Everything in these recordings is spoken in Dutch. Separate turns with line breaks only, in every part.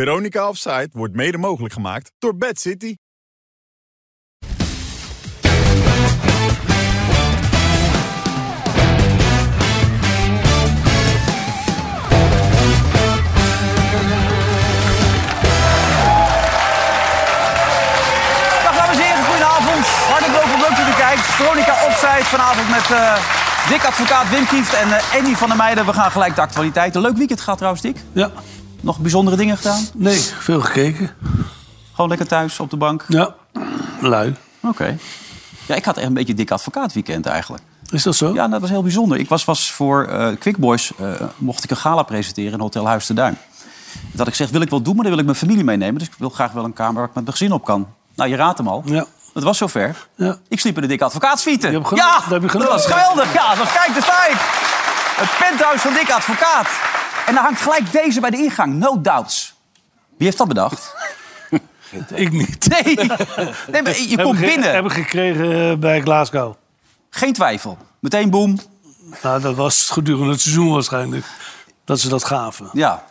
Veronica Offside wordt mede mogelijk gemaakt door Bad City.
Dag dames en heren, goedenavond. Hartelijk welkom, leuk dat u kijkt. Veronica Opzijd vanavond met eh Dick Advocaat, Wim Kieft en eh Andy van der Meijden. We gaan gelijk de actualiteit. Een leuk weekend gehad trouwens, Dick.
Ja,
Nog bijzondere dingen gedaan?
nee, veel gekeken.
Gewoon lekker thuis op de bank?
Ja, lui.
Oké. Ja, ik had echt een beetje Dick Advocaat weekend eigenlijk.
Is dat zo?
Ja, dat was heel bijzonder. Ik was, was voor eh Quick Boys, eh, mocht ik een gala presenteren in Hotel Huis de Duin. Dat had ik gezegd, wil ik wel doen, maar dan wil ik mijn familie meenemen. Dus ik wil graag wel een kamer waar ik met mijn gezin op kan. Nou, je raadt hem al.
Ja.
Het was zover.
Ja.
Ik sliep in de dikke advocaatsfieten.
Je hebt gelo-
ja,
dat heb je
dat
geloofd.
was geweldig. Ja, dat was kijk, de tijd. Het penthouse van dikke advocaat. En dan hangt gelijk deze bij de ingang. No doubts. Wie heeft dat bedacht?
Ik niet.
Nee, nee maar je komt binnen.
Hebben gekregen eh, bij Glasgow.
Geen twijfel. Meteen boom.
Nou, dat was gedurende het seizoen waarschijnlijk. Dat ze dat gaven.
Ja.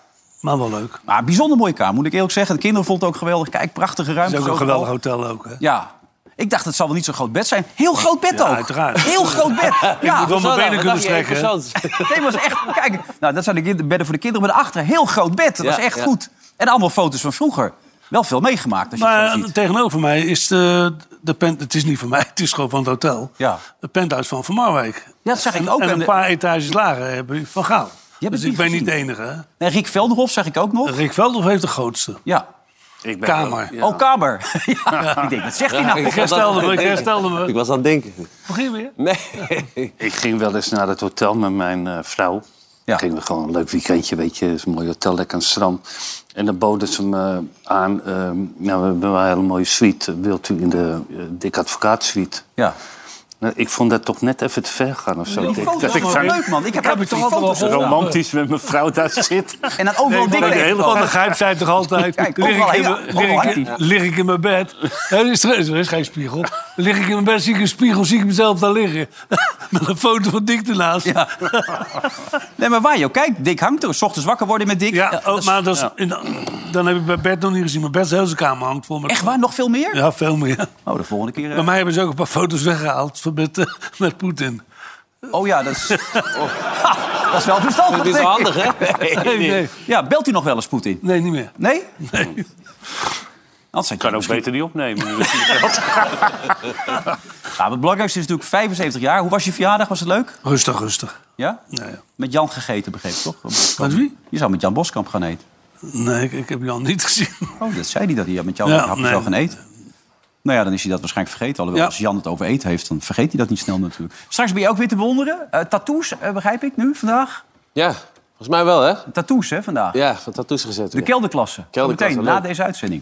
Maar wel leuk.
Maar een bijzonder mooie kamer, moet ik eerlijk zeggen. De kinderen vonden het ook geweldig. Kijk, prachtige
Het
ruimte.
is ook een geweldig hotel ook, hè?
Ja. Ik dacht, het zal wel niet zo'n groot bed zijn. Heel groot bed
Ja,
ook.
uiteraard.
Heel groot bed. Ja.
moet wel mijn benen kunnen strekken. hè?
Nee, maar het was echt. Kijk, nou, dat zijn de kind- bedden voor de kinderen. Maar daarachter, heel groot bed. Dat was echt goed. En allemaal foto's van vroeger. Wel veel meegemaakt. Als je het zo
Maar eh,
ziet.
tegenover mij is de, de pent... Het is niet van mij, het is gewoon van het hotel.
Ja.
Het penthouse van Van Marwijk.
Ja, dat zag ik
En-
ook.
En
En de-
een paar etages lager hebben we van Gaal.
het
Dus
niet
ik ben
gezien.
niet de enige. hè?
En Rick Velderhof zag ik ook nog.
Rick Veldhoff heeft de grootste
Ja.
Ik ben
kamer.
Oh, Kamer. ja. Ik denk, wat zegt hij nou?
Ik herstelde me, ik herstelde me.
Ik was aan het denken.
Begin weer.
Ik ging wel eens naar het hotel met mijn eh, vrouw.
Ja.
Gingen we gewoon een leuk weekendje, weet je. Het is een mooi hotel, lekker aan het strand. En dan boden ze me aan. ehm, nou, we hebben wel een hele mooie suite. Wilt u in de eh, Dik Advocaat suite?
Ja.
Nou, ik vond dat toch net even te ver gaan of zo.
Die
Ik denk,
foto's
dat ik
waren
daar
leuk, man. Ik heb, heb toch foto's gedaan.
romantisch met mijn vrouw daar zit.
En dan overal
Nee,
dikke
maar de hele van de
dingen. Oh,
grijp zijn toch altijd.
Kijk,
lig,
overal,
ik in
ja, oh,
mijn-
overal
lig ik-
hangt die.
lig ik in mijn bed. Ja, Er is, er is geen spiegel. Dan Lig ik in mijn bed, zie ik een spiegel, zie ik mezelf daar liggen. Met een foto van Dick ernaast. Ja,
Nee, maar waar je ook kijkt, Dick hangt er. 's ochtends wakker worden met Dick.
oh, maar dat is, en dan- dan heb ik bij Bert nog niet gezien. Maar Bert's hele kamer hangt vol met...
Echt waar? Nog veel meer?
Ja, veel meer.
Oh, de volgende keer. eh.
Bij mij hebben ze ook een paar foto's weggehaald van met, eh, met Poetin.
Oh ja, dat is. Ha, dat is wel verstandig.
Dat is
denk
wel
ik.
handig, hè?
Nee, nee,
Ja, belt u nog wel eens Poetin?
nee, niet meer.
Nee? Nee. Anders zijn
kan ook
misschien...
beter niet opnemen. dus
Ja, maar het belangrijkste is natuurlijk 75 jaar. Hoe was je verjaardag? Was het leuk?
Rustig, rustig.
Ja?
Nou ja.
Met Jan gegeten, begreep ik toch?
Met wie?
Je zou met Jan Boskamp gaan eten.
Nee, ik, ik heb Jan niet gezien.
Oh, dat zei hij dat hij met Jan
Ja,
een hapje
nee.
zou gaan eten. Nou ja, dan is hij dat waarschijnlijk vergeten. Alhoewel,
Ja.
als Jan het over eten heeft, dan vergeet hij dat niet snel natuurlijk. Straks ben je ook weer te bewonderen. Eh, tattoos, eh, begrijp ik nu, vandaag?
Ja, volgens mij wel, hè?
Tattoos, hè, vandaag.
Ja, van tattoos gezet.
De
weer.
kelderklasse.
Kelderklasse,
Meteen, na
leuk.
deze uitzending.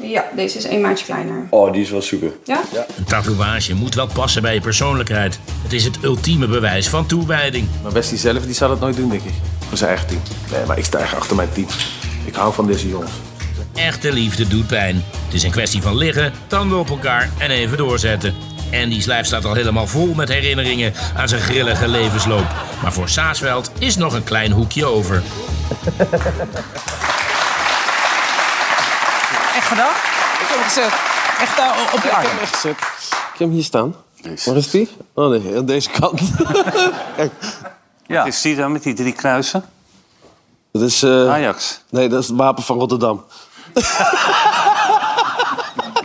Ja, deze is een maatje kleiner.
Oh, die is wel super.
Ja?
Een tatoeage moet wel passen bij je persoonlijkheid. Het is het ultieme bewijs van toewijding.
Maar Wesley zelf die zou dat nooit doen, denk ik. Voor zijn eigen team. Nee, maar ik sta echt achter mijn team. Ik hou van deze jongens.
Echte liefde doet pijn. Het is een kwestie van liggen, tanden op elkaar en even doorzetten. Andy's lijf staat al helemaal vol met herinneringen aan zijn grillige levensloop. Maar voor Saasveld is nog een klein hoekje over.
Echt gedaan?
Ik heb hem gezet.
Echt daar op je
Ik heb
arm?
hem echt gezet. Ik heb hem hier staan. Waar is die? Oh nee, aan deze kant. Kijk,
Ja.
Is die dan met die drie kruisen?
dat is... eh,
Ajax.
Nee, dat is het wapen van Rotterdam.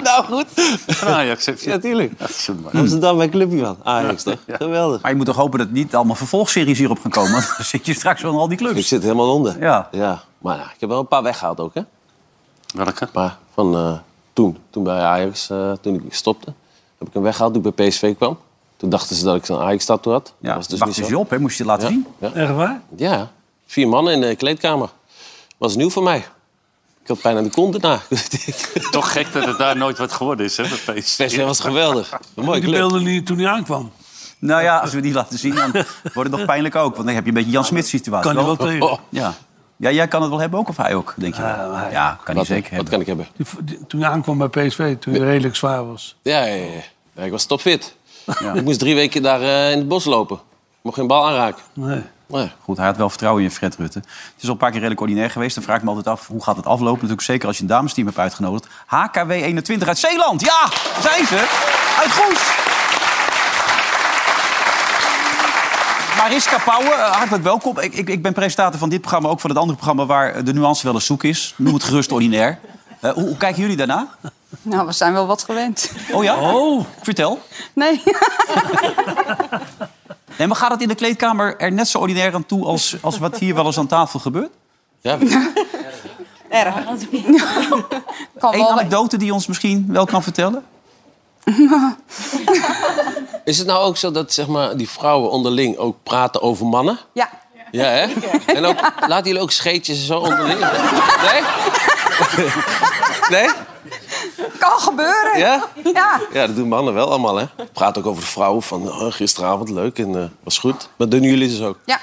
nou, goed.
Van Ajax heeft
Ja,
je.
tuurlijk.
Ja,
Amsterdam, mijn clubje van. Ajax, Ah, toch? Geweldig.
Maar je moet toch hopen dat niet allemaal vervolgseries hierop gaan komen. Want dan zit je straks wel in al die
Ik
clubs.
zit helemaal onder.
Ja.
ja. Maar ja, ik heb wel een paar weggehaald ook, hè?
Welke?
Maar van eh, toen, toen bij Ajax, eh, toen ik stopte, heb ik hem weggehaald toen ik bij PSV kwam. Toen dachten ze dat ik zo'n Ajax-tattoo had.
Ja,
was dus
wacht
niet
eens
zo.
je op, hè? moest je het laten zien.
Echt waar?
Ja, vier mannen in de kleedkamer. Was nieuw voor mij. Ik had bijna de kont erna.
Toch gek dat het daar nooit wat geworden is, hè, bij PSV.
PSV was geweldig. Een
Oh,
mooie
Die
club.
beelden die toen hij aankwam.
Nou ja, als we die laten zien, dan wordt het nog pijnlijk ook. Want dan heb je een beetje Jan Smit situatie.
Kan hij wel tegen.
Ja. ja, jij kan het wel hebben ook, of hij ook, denk je wel. ja, kan hij
Wat,
zeker
wat
hebben.
kan ik hebben?
Die- die- toen hij aankwam bij PSV, toen hij redelijk zwaar was.
Ja, ja, ja. ja ik was topfit. Ik moest drie weken daar eh, in het bos lopen. Ik mocht geen bal aanraken.
Nee.
Nee.
Goed, hij had wel vertrouwen in Fred Rutte. Het is al een paar keer redelijk ordinair geweest. Dan vraag ik me altijd af, hoe gaat het aflopen? Natuurlijk zeker als je een damesteam hebt uitgenodigd. HKW 21 uit Zeeland. Ja, daar zijn ze. Uit Goes. Mariska Pauwen, eh, hartelijk welkom. Ik, ik, ik ben presentator van dit programma, ook van het andere programma... waar eh, de nuance wel eens zoek is. Noem het gerust ordinair. Eh, hoe, hoe kijken jullie daarna?
Nou, we zijn wel wat gewend.
Oh ja?
Oh,
Vertel.
Nee,
Nee, maar gaat het in de kleedkamer er net zo ordinair aan toe... als, als wat hier wel eens aan tafel gebeurt?
Ja,
kan
Eén
wel.
anekdote die je ons misschien wel kan vertellen?
is het nou ook zo dat zeg maar, die vrouwen onderling ook praten over mannen?
Ja.
Ja, hè? En ook, laten jullie ook scheetjes en zo onderling? Nee? Nee?
Kan gebeuren.
Ja?
Ja.
Ja, dat doen mannen wel allemaal, hè? Praat ook over de vrouwen van oh, gisteravond, leuk en eh, was goed. Maar doen jullie dus ook?
Ja.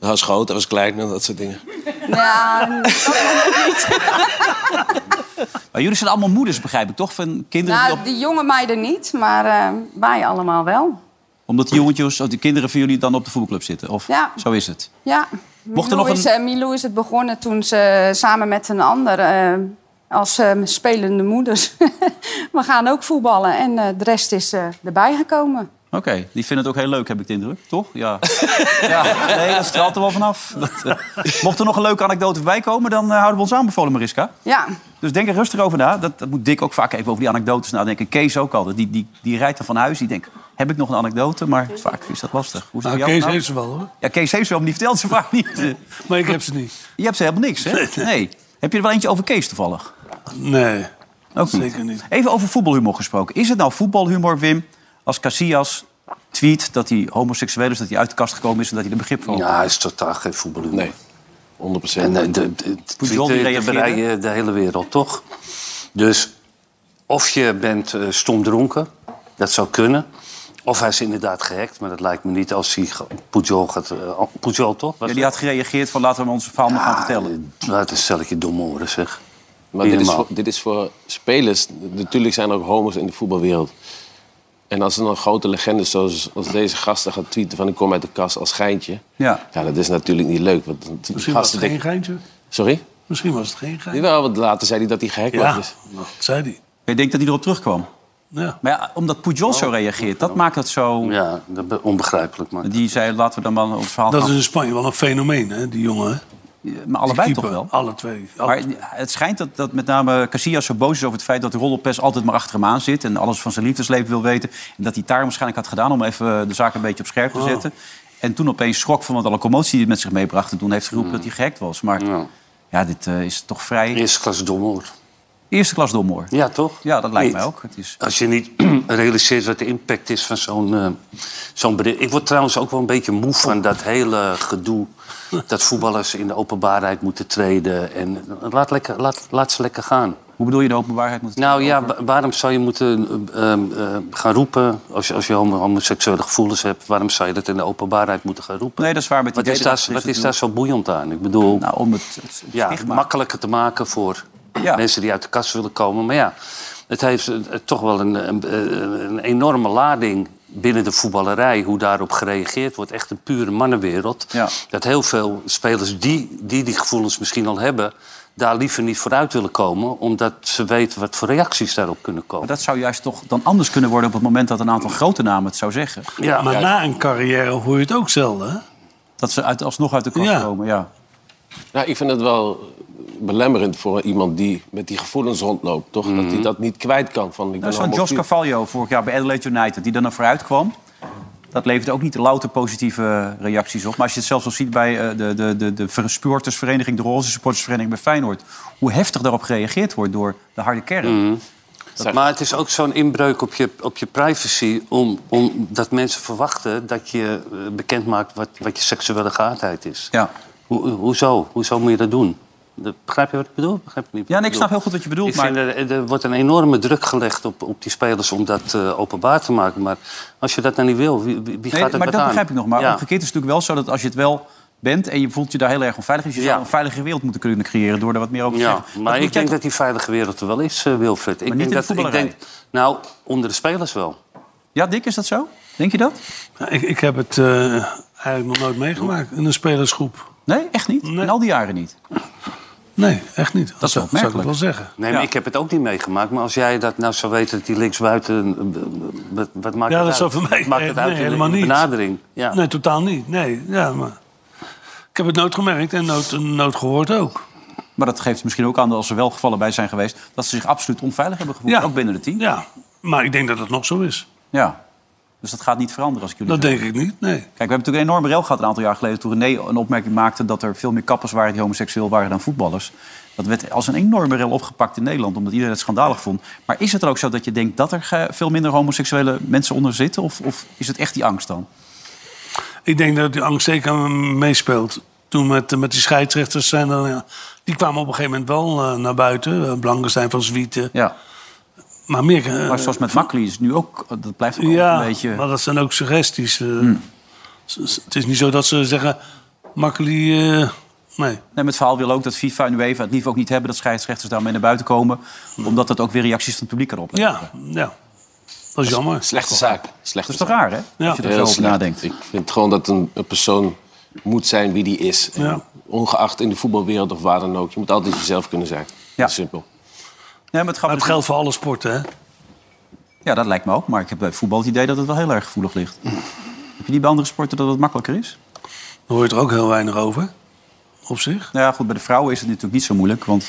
Hij was groot, hij was klein en dat soort dingen.
ja.
Maar jullie zijn allemaal moeders, begrijp ik toch? Van kinderen die
Nou,
op-
die jonge meiden niet, maar eh, wij allemaal wel.
Omdat die jongetjes, of de kinderen van jullie dan op de voetbalclub zitten. Of
Ja.
zo is het.
Ja.
Mocht er
Milou
nog
is,
een-
eh, Milou is het begonnen toen ze samen met een ander... eh, als eh, spelende moeders. we gaan ook voetballen en eh, de rest is eh, erbij gekomen.
Oké, die vinden het ook heel leuk, heb ik de indruk, toch? Ja. ja. Nee, dat straalt er wel vanaf. Dat, eh, Mocht er nog een leuke anekdote voorbij komen, dan eh, houden we ons aanbevolen, Mariska.
Ja,
Dus denk er rustig over na. Dat, dat moet Dick ook vaak even over die anekdotes nadenken. Kees ook altijd. Die, die, die rijdt dan van huis. Die denkt, heb ik nog een anekdote? Maar vaak is dat lastig. Hoe zit het bij
nou,
jou
Kees
nou?
heeft ze wel, hoor.
Ja, Kees heeft ze wel, maar die vertelt ze vaak niet. Eh,
Maar ik heb ze niet.
Je hebt ze helemaal niks, hè? Nee. Heb je er wel eentje over Kees toevallig?
Nee.
Ook niet.
Zeker niet.
Even over voetbalhumor gesproken. Is het nou voetbalhumor, Wim, als Casillas tweet dat hij homoseksueel is, dat hij uit de kast gekomen is en dat hij er begrip van
Ja, hij is totaal geen voetballer.
Nee, 100 procent.
En eh, de, de, het
Pujol die
Twitter
reageerde.
bereik je de hele wereld, toch? Dus of je bent eh, stomdronken, dat zou kunnen. Of hij is inderdaad gehackt, maar dat lijkt me niet als hij ge- Pujol gaat... eh, Pujol, toch? Ah, Was
Ja, die had gereageerd van laten we ons verhaal maar gaan vertellen.
dat? Wat een stelletje domme horen, zeg.
Maar dit is,
Helemaal.
voor, dit is voor spelers. Natuurlijk zijn er ook homo's in de voetbalwereld. En als er dan grote legendes zoals als deze gasten gaat tweeten van ik kom uit de kast als geintje.
Ja.
Ja, dat is natuurlijk niet leuk. Want die
Misschien was het
gasten
geen
denken-
geintje.
Sorry?
Misschien was het geen geintje.
Jawel, want later zei hij dat hij gehackt
Ja,
was. Dus.
dat zei hij.
Ik denk dat hij erop terugkwam.
Ja.
Maar ja, omdat Pujol zo reageert, dat maakt het zo...
Oh. Ja, dat be- onbegrijpelijk, maar...
Die zei laten we dan maar ons verhaal
Dat is
gaan
in Spanje wel een fenomeen, hè, die jongen. Hè? Die
Maar allebei toch
keeper,
wel?
Alle twee. Alle
Maar het schijnt dat, dat met name Casillas zo boos is over het feit... dat de rollenpers altijd maar achter hem aan zit... en alles van zijn liefdesleven wil weten. En dat hij het daar waarschijnlijk had gedaan om even eh, de zaak een beetje op scherp te zetten. En toen opeens schrok van wat alle commotie die het met zich meebracht. En toen heeft geroepen dat hij gehackt was. Maar ja,
Ja.
dit eh, is toch vrij
Eerste klas domhoor.
eerste klas domhoor.
Ja, toch?
Ja, dat lijkt mij
Niet.
ook. Het is...
Als je niet realiseert wat de impact is van zo'n eh, zo'n bericht. Ik word trouwens ook wel een beetje moe van dat hele gedoe... dat voetballers in de openbaarheid moeten treden. En laat, lekker, laat, laat ze lekker gaan.
Hoe bedoel je de openbaarheid? Moet het
Nou ja, wa- waarom zou je moeten eh, ehm, eh, gaan roepen... als je, als je homo- homoseksuele gevoelens hebt... waarom zou je dat in de openbaarheid moeten gaan roepen?
Nee, dat is waar. Met die
wat is,
deden
daar,
dat
wat
ze
is
doen.
daar zo boeiend aan? Ik bedoel
Nou, om het, het
ja,
stigma...
makkelijker te maken voor
Ja.
mensen die uit de kast willen komen. Maar ja, het heeft eh, toch wel een, een, eh, een enorme lading binnen de voetballerij... hoe daarop gereageerd wordt. Echt een pure mannenwereld.
Ja.
Dat heel veel spelers die, die die gevoelens misschien al hebben... daar liever niet vooruit willen komen... omdat ze weten wat voor reacties daarop kunnen komen.
Maar dat zou juist toch dan anders kunnen worden... op het moment dat een aantal grote namen het zou zeggen.
Ja,
maar na een carrière hoor je het ook zelden. Hè?
Dat ze uit, alsnog uit de kast
Ja.
komen, ja.
Nou, ik vind het wel belemmerend voor iemand die met die gevoelens rondloopt, toch? Dat hij dat niet kwijt kan. Van, ik
Nou,
ben
zo'n
homofiel.
Jos Carvalho vorig jaar bij Adelaide United, die er naar vooruit kwam. Dat levert ook niet louter positieve reacties op. Maar als je het zelfs al ziet bij eh, de, de, de, de ver- supportersvereniging, de roze supportersvereniging bij Feyenoord. Hoe heftig daarop gereageerd wordt door de harde kern.
Mm, Maar het is ook zo'n inbreuk op je, op je privacy... Om, om dat mensen verwachten dat je eh, bekend maakt wat, wat je seksuele geaardheid is.
Ja.
Hoe, hoezo? Hoezo moet je dat doen? De- begrijp je wat ik bedoel? Begrijp je niet
ja,
wat
nee, ik snap heel goed wat je bedoelt.
ik
Maar
vind er, er wordt een enorme druk gelegd op, op die spelers om dat eh, openbaar te maken. Maar als je dat dan niet wil, wie, wie wie
Nee,
gaat het
maar
wat
dat
aan?
begrijp ik nog. Maar
Ja.
omgekeerd is het natuurlijk wel zo dat als je het wel bent en je voelt je daar heel erg onveilig, is je
Ja.
zou een veilige wereld moeten kunnen creëren door er wat meer over te
Ja,
zeggen. Dat
maar
moet
ik
jij
denk
toch-
dat die veilige wereld er wel is, eh, Wilfred. ik
niet in
denk
de
dat, ik
voetballerij.
denk, Nou, onder de spelers wel.
Ja, Dick, is dat zo? Denk je dat?
Nou, ik, ik heb het eh, Hij heeft nog nooit meegemaakt in een spelersgroep.
Nee, echt niet? In al die jaren niet?
Nee, echt niet. Dat,
is wel
zou ik
opmerkelijk.
wel zeggen.
Nee, maar
Ja.
ik heb het ook niet meegemaakt. Maar als jij dat nou zou weten, dat die linksbuiten... eh, b- b- Wat maakt
Ja,
het
dat
uit?
zou voor mij-
Wat Maakt het
nee,
uit
nee,
in de- in de
helemaal niet.
benadering. Ja.
Nee, totaal niet. Nee, ja, maar... Ik heb het nooit gemerkt en nooit, nooit gehoord ook.
Maar dat geeft misschien ook aan dat als er wel gevallen bij zijn geweest... dat ze zich absoluut onveilig hebben gevoeld,
Ja.
ook binnen het team. Ja.
Ja, maar ik denk dat het nog zo is.
Dus dat gaat niet veranderen als ik jullie
Dat
zo-
denk ik niet, nee.
Kijk, we hebben natuurlijk een enorme rel gehad een aantal jaar geleden... toen René een opmerking maakte dat er veel meer kappers waren die homoseksueel waren dan voetballers. Dat werd als een enorme rel opgepakt in Nederland, omdat iedereen het schandalig vond. Maar is het er ook zo dat je denkt dat er ge- veel minder homoseksuele mensen onder zitten? Of, of is het echt die angst dan?
Ik denk dat die angst zeker meespeelt. Toen met, met die scheidsrechters zijn dan... Ja, die kwamen op een gegeven moment wel eh, naar buiten. Eh, Blankenstein van Zwieten.
Ja.
Maar meer... eh,
Maar zoals met Makkeli is het nu ook, eh, dat blijft ook
ja,
een beetje... Hmm.
maar dat zijn ook suggesties. eh. S- s- Het is niet zo dat ze zeggen... Makkeli... eh, nee.
Nee, maar het verhaal wil ook dat FIFA en UEFA het liever ook niet hebben... dat scheidsrechters daarmee naar buiten komen... omdat dat ook weer reacties van het publiek kan opleveren.
Ja, ja. Dat is jammer.
Slechte zaak. Slechte
Dat is Dus toch raar, hè?
Ja.
Als je er
Heel
zo over
slecht.
nadenkt.
Ik vind gewoon dat een, een persoon moet zijn wie die is. En
Ja.
Ongeacht in de voetbalwereld of waar dan ook. Je moet altijd jezelf kunnen zijn.
Ja.
Simpel.
Ja, maar het
Maar
grappige
het
is-
geldt voor alle sporten, hè?
Ja, dat lijkt me ook. Maar ik heb bij voetbal het idee dat het wel heel erg gevoelig ligt. Heb je niet bij andere sporten dat het makkelijker is?
Daar hoor je er ook heel weinig over. Op zich.
Nou ja, goed, bij de vrouwen is het natuurlijk niet zo moeilijk, want...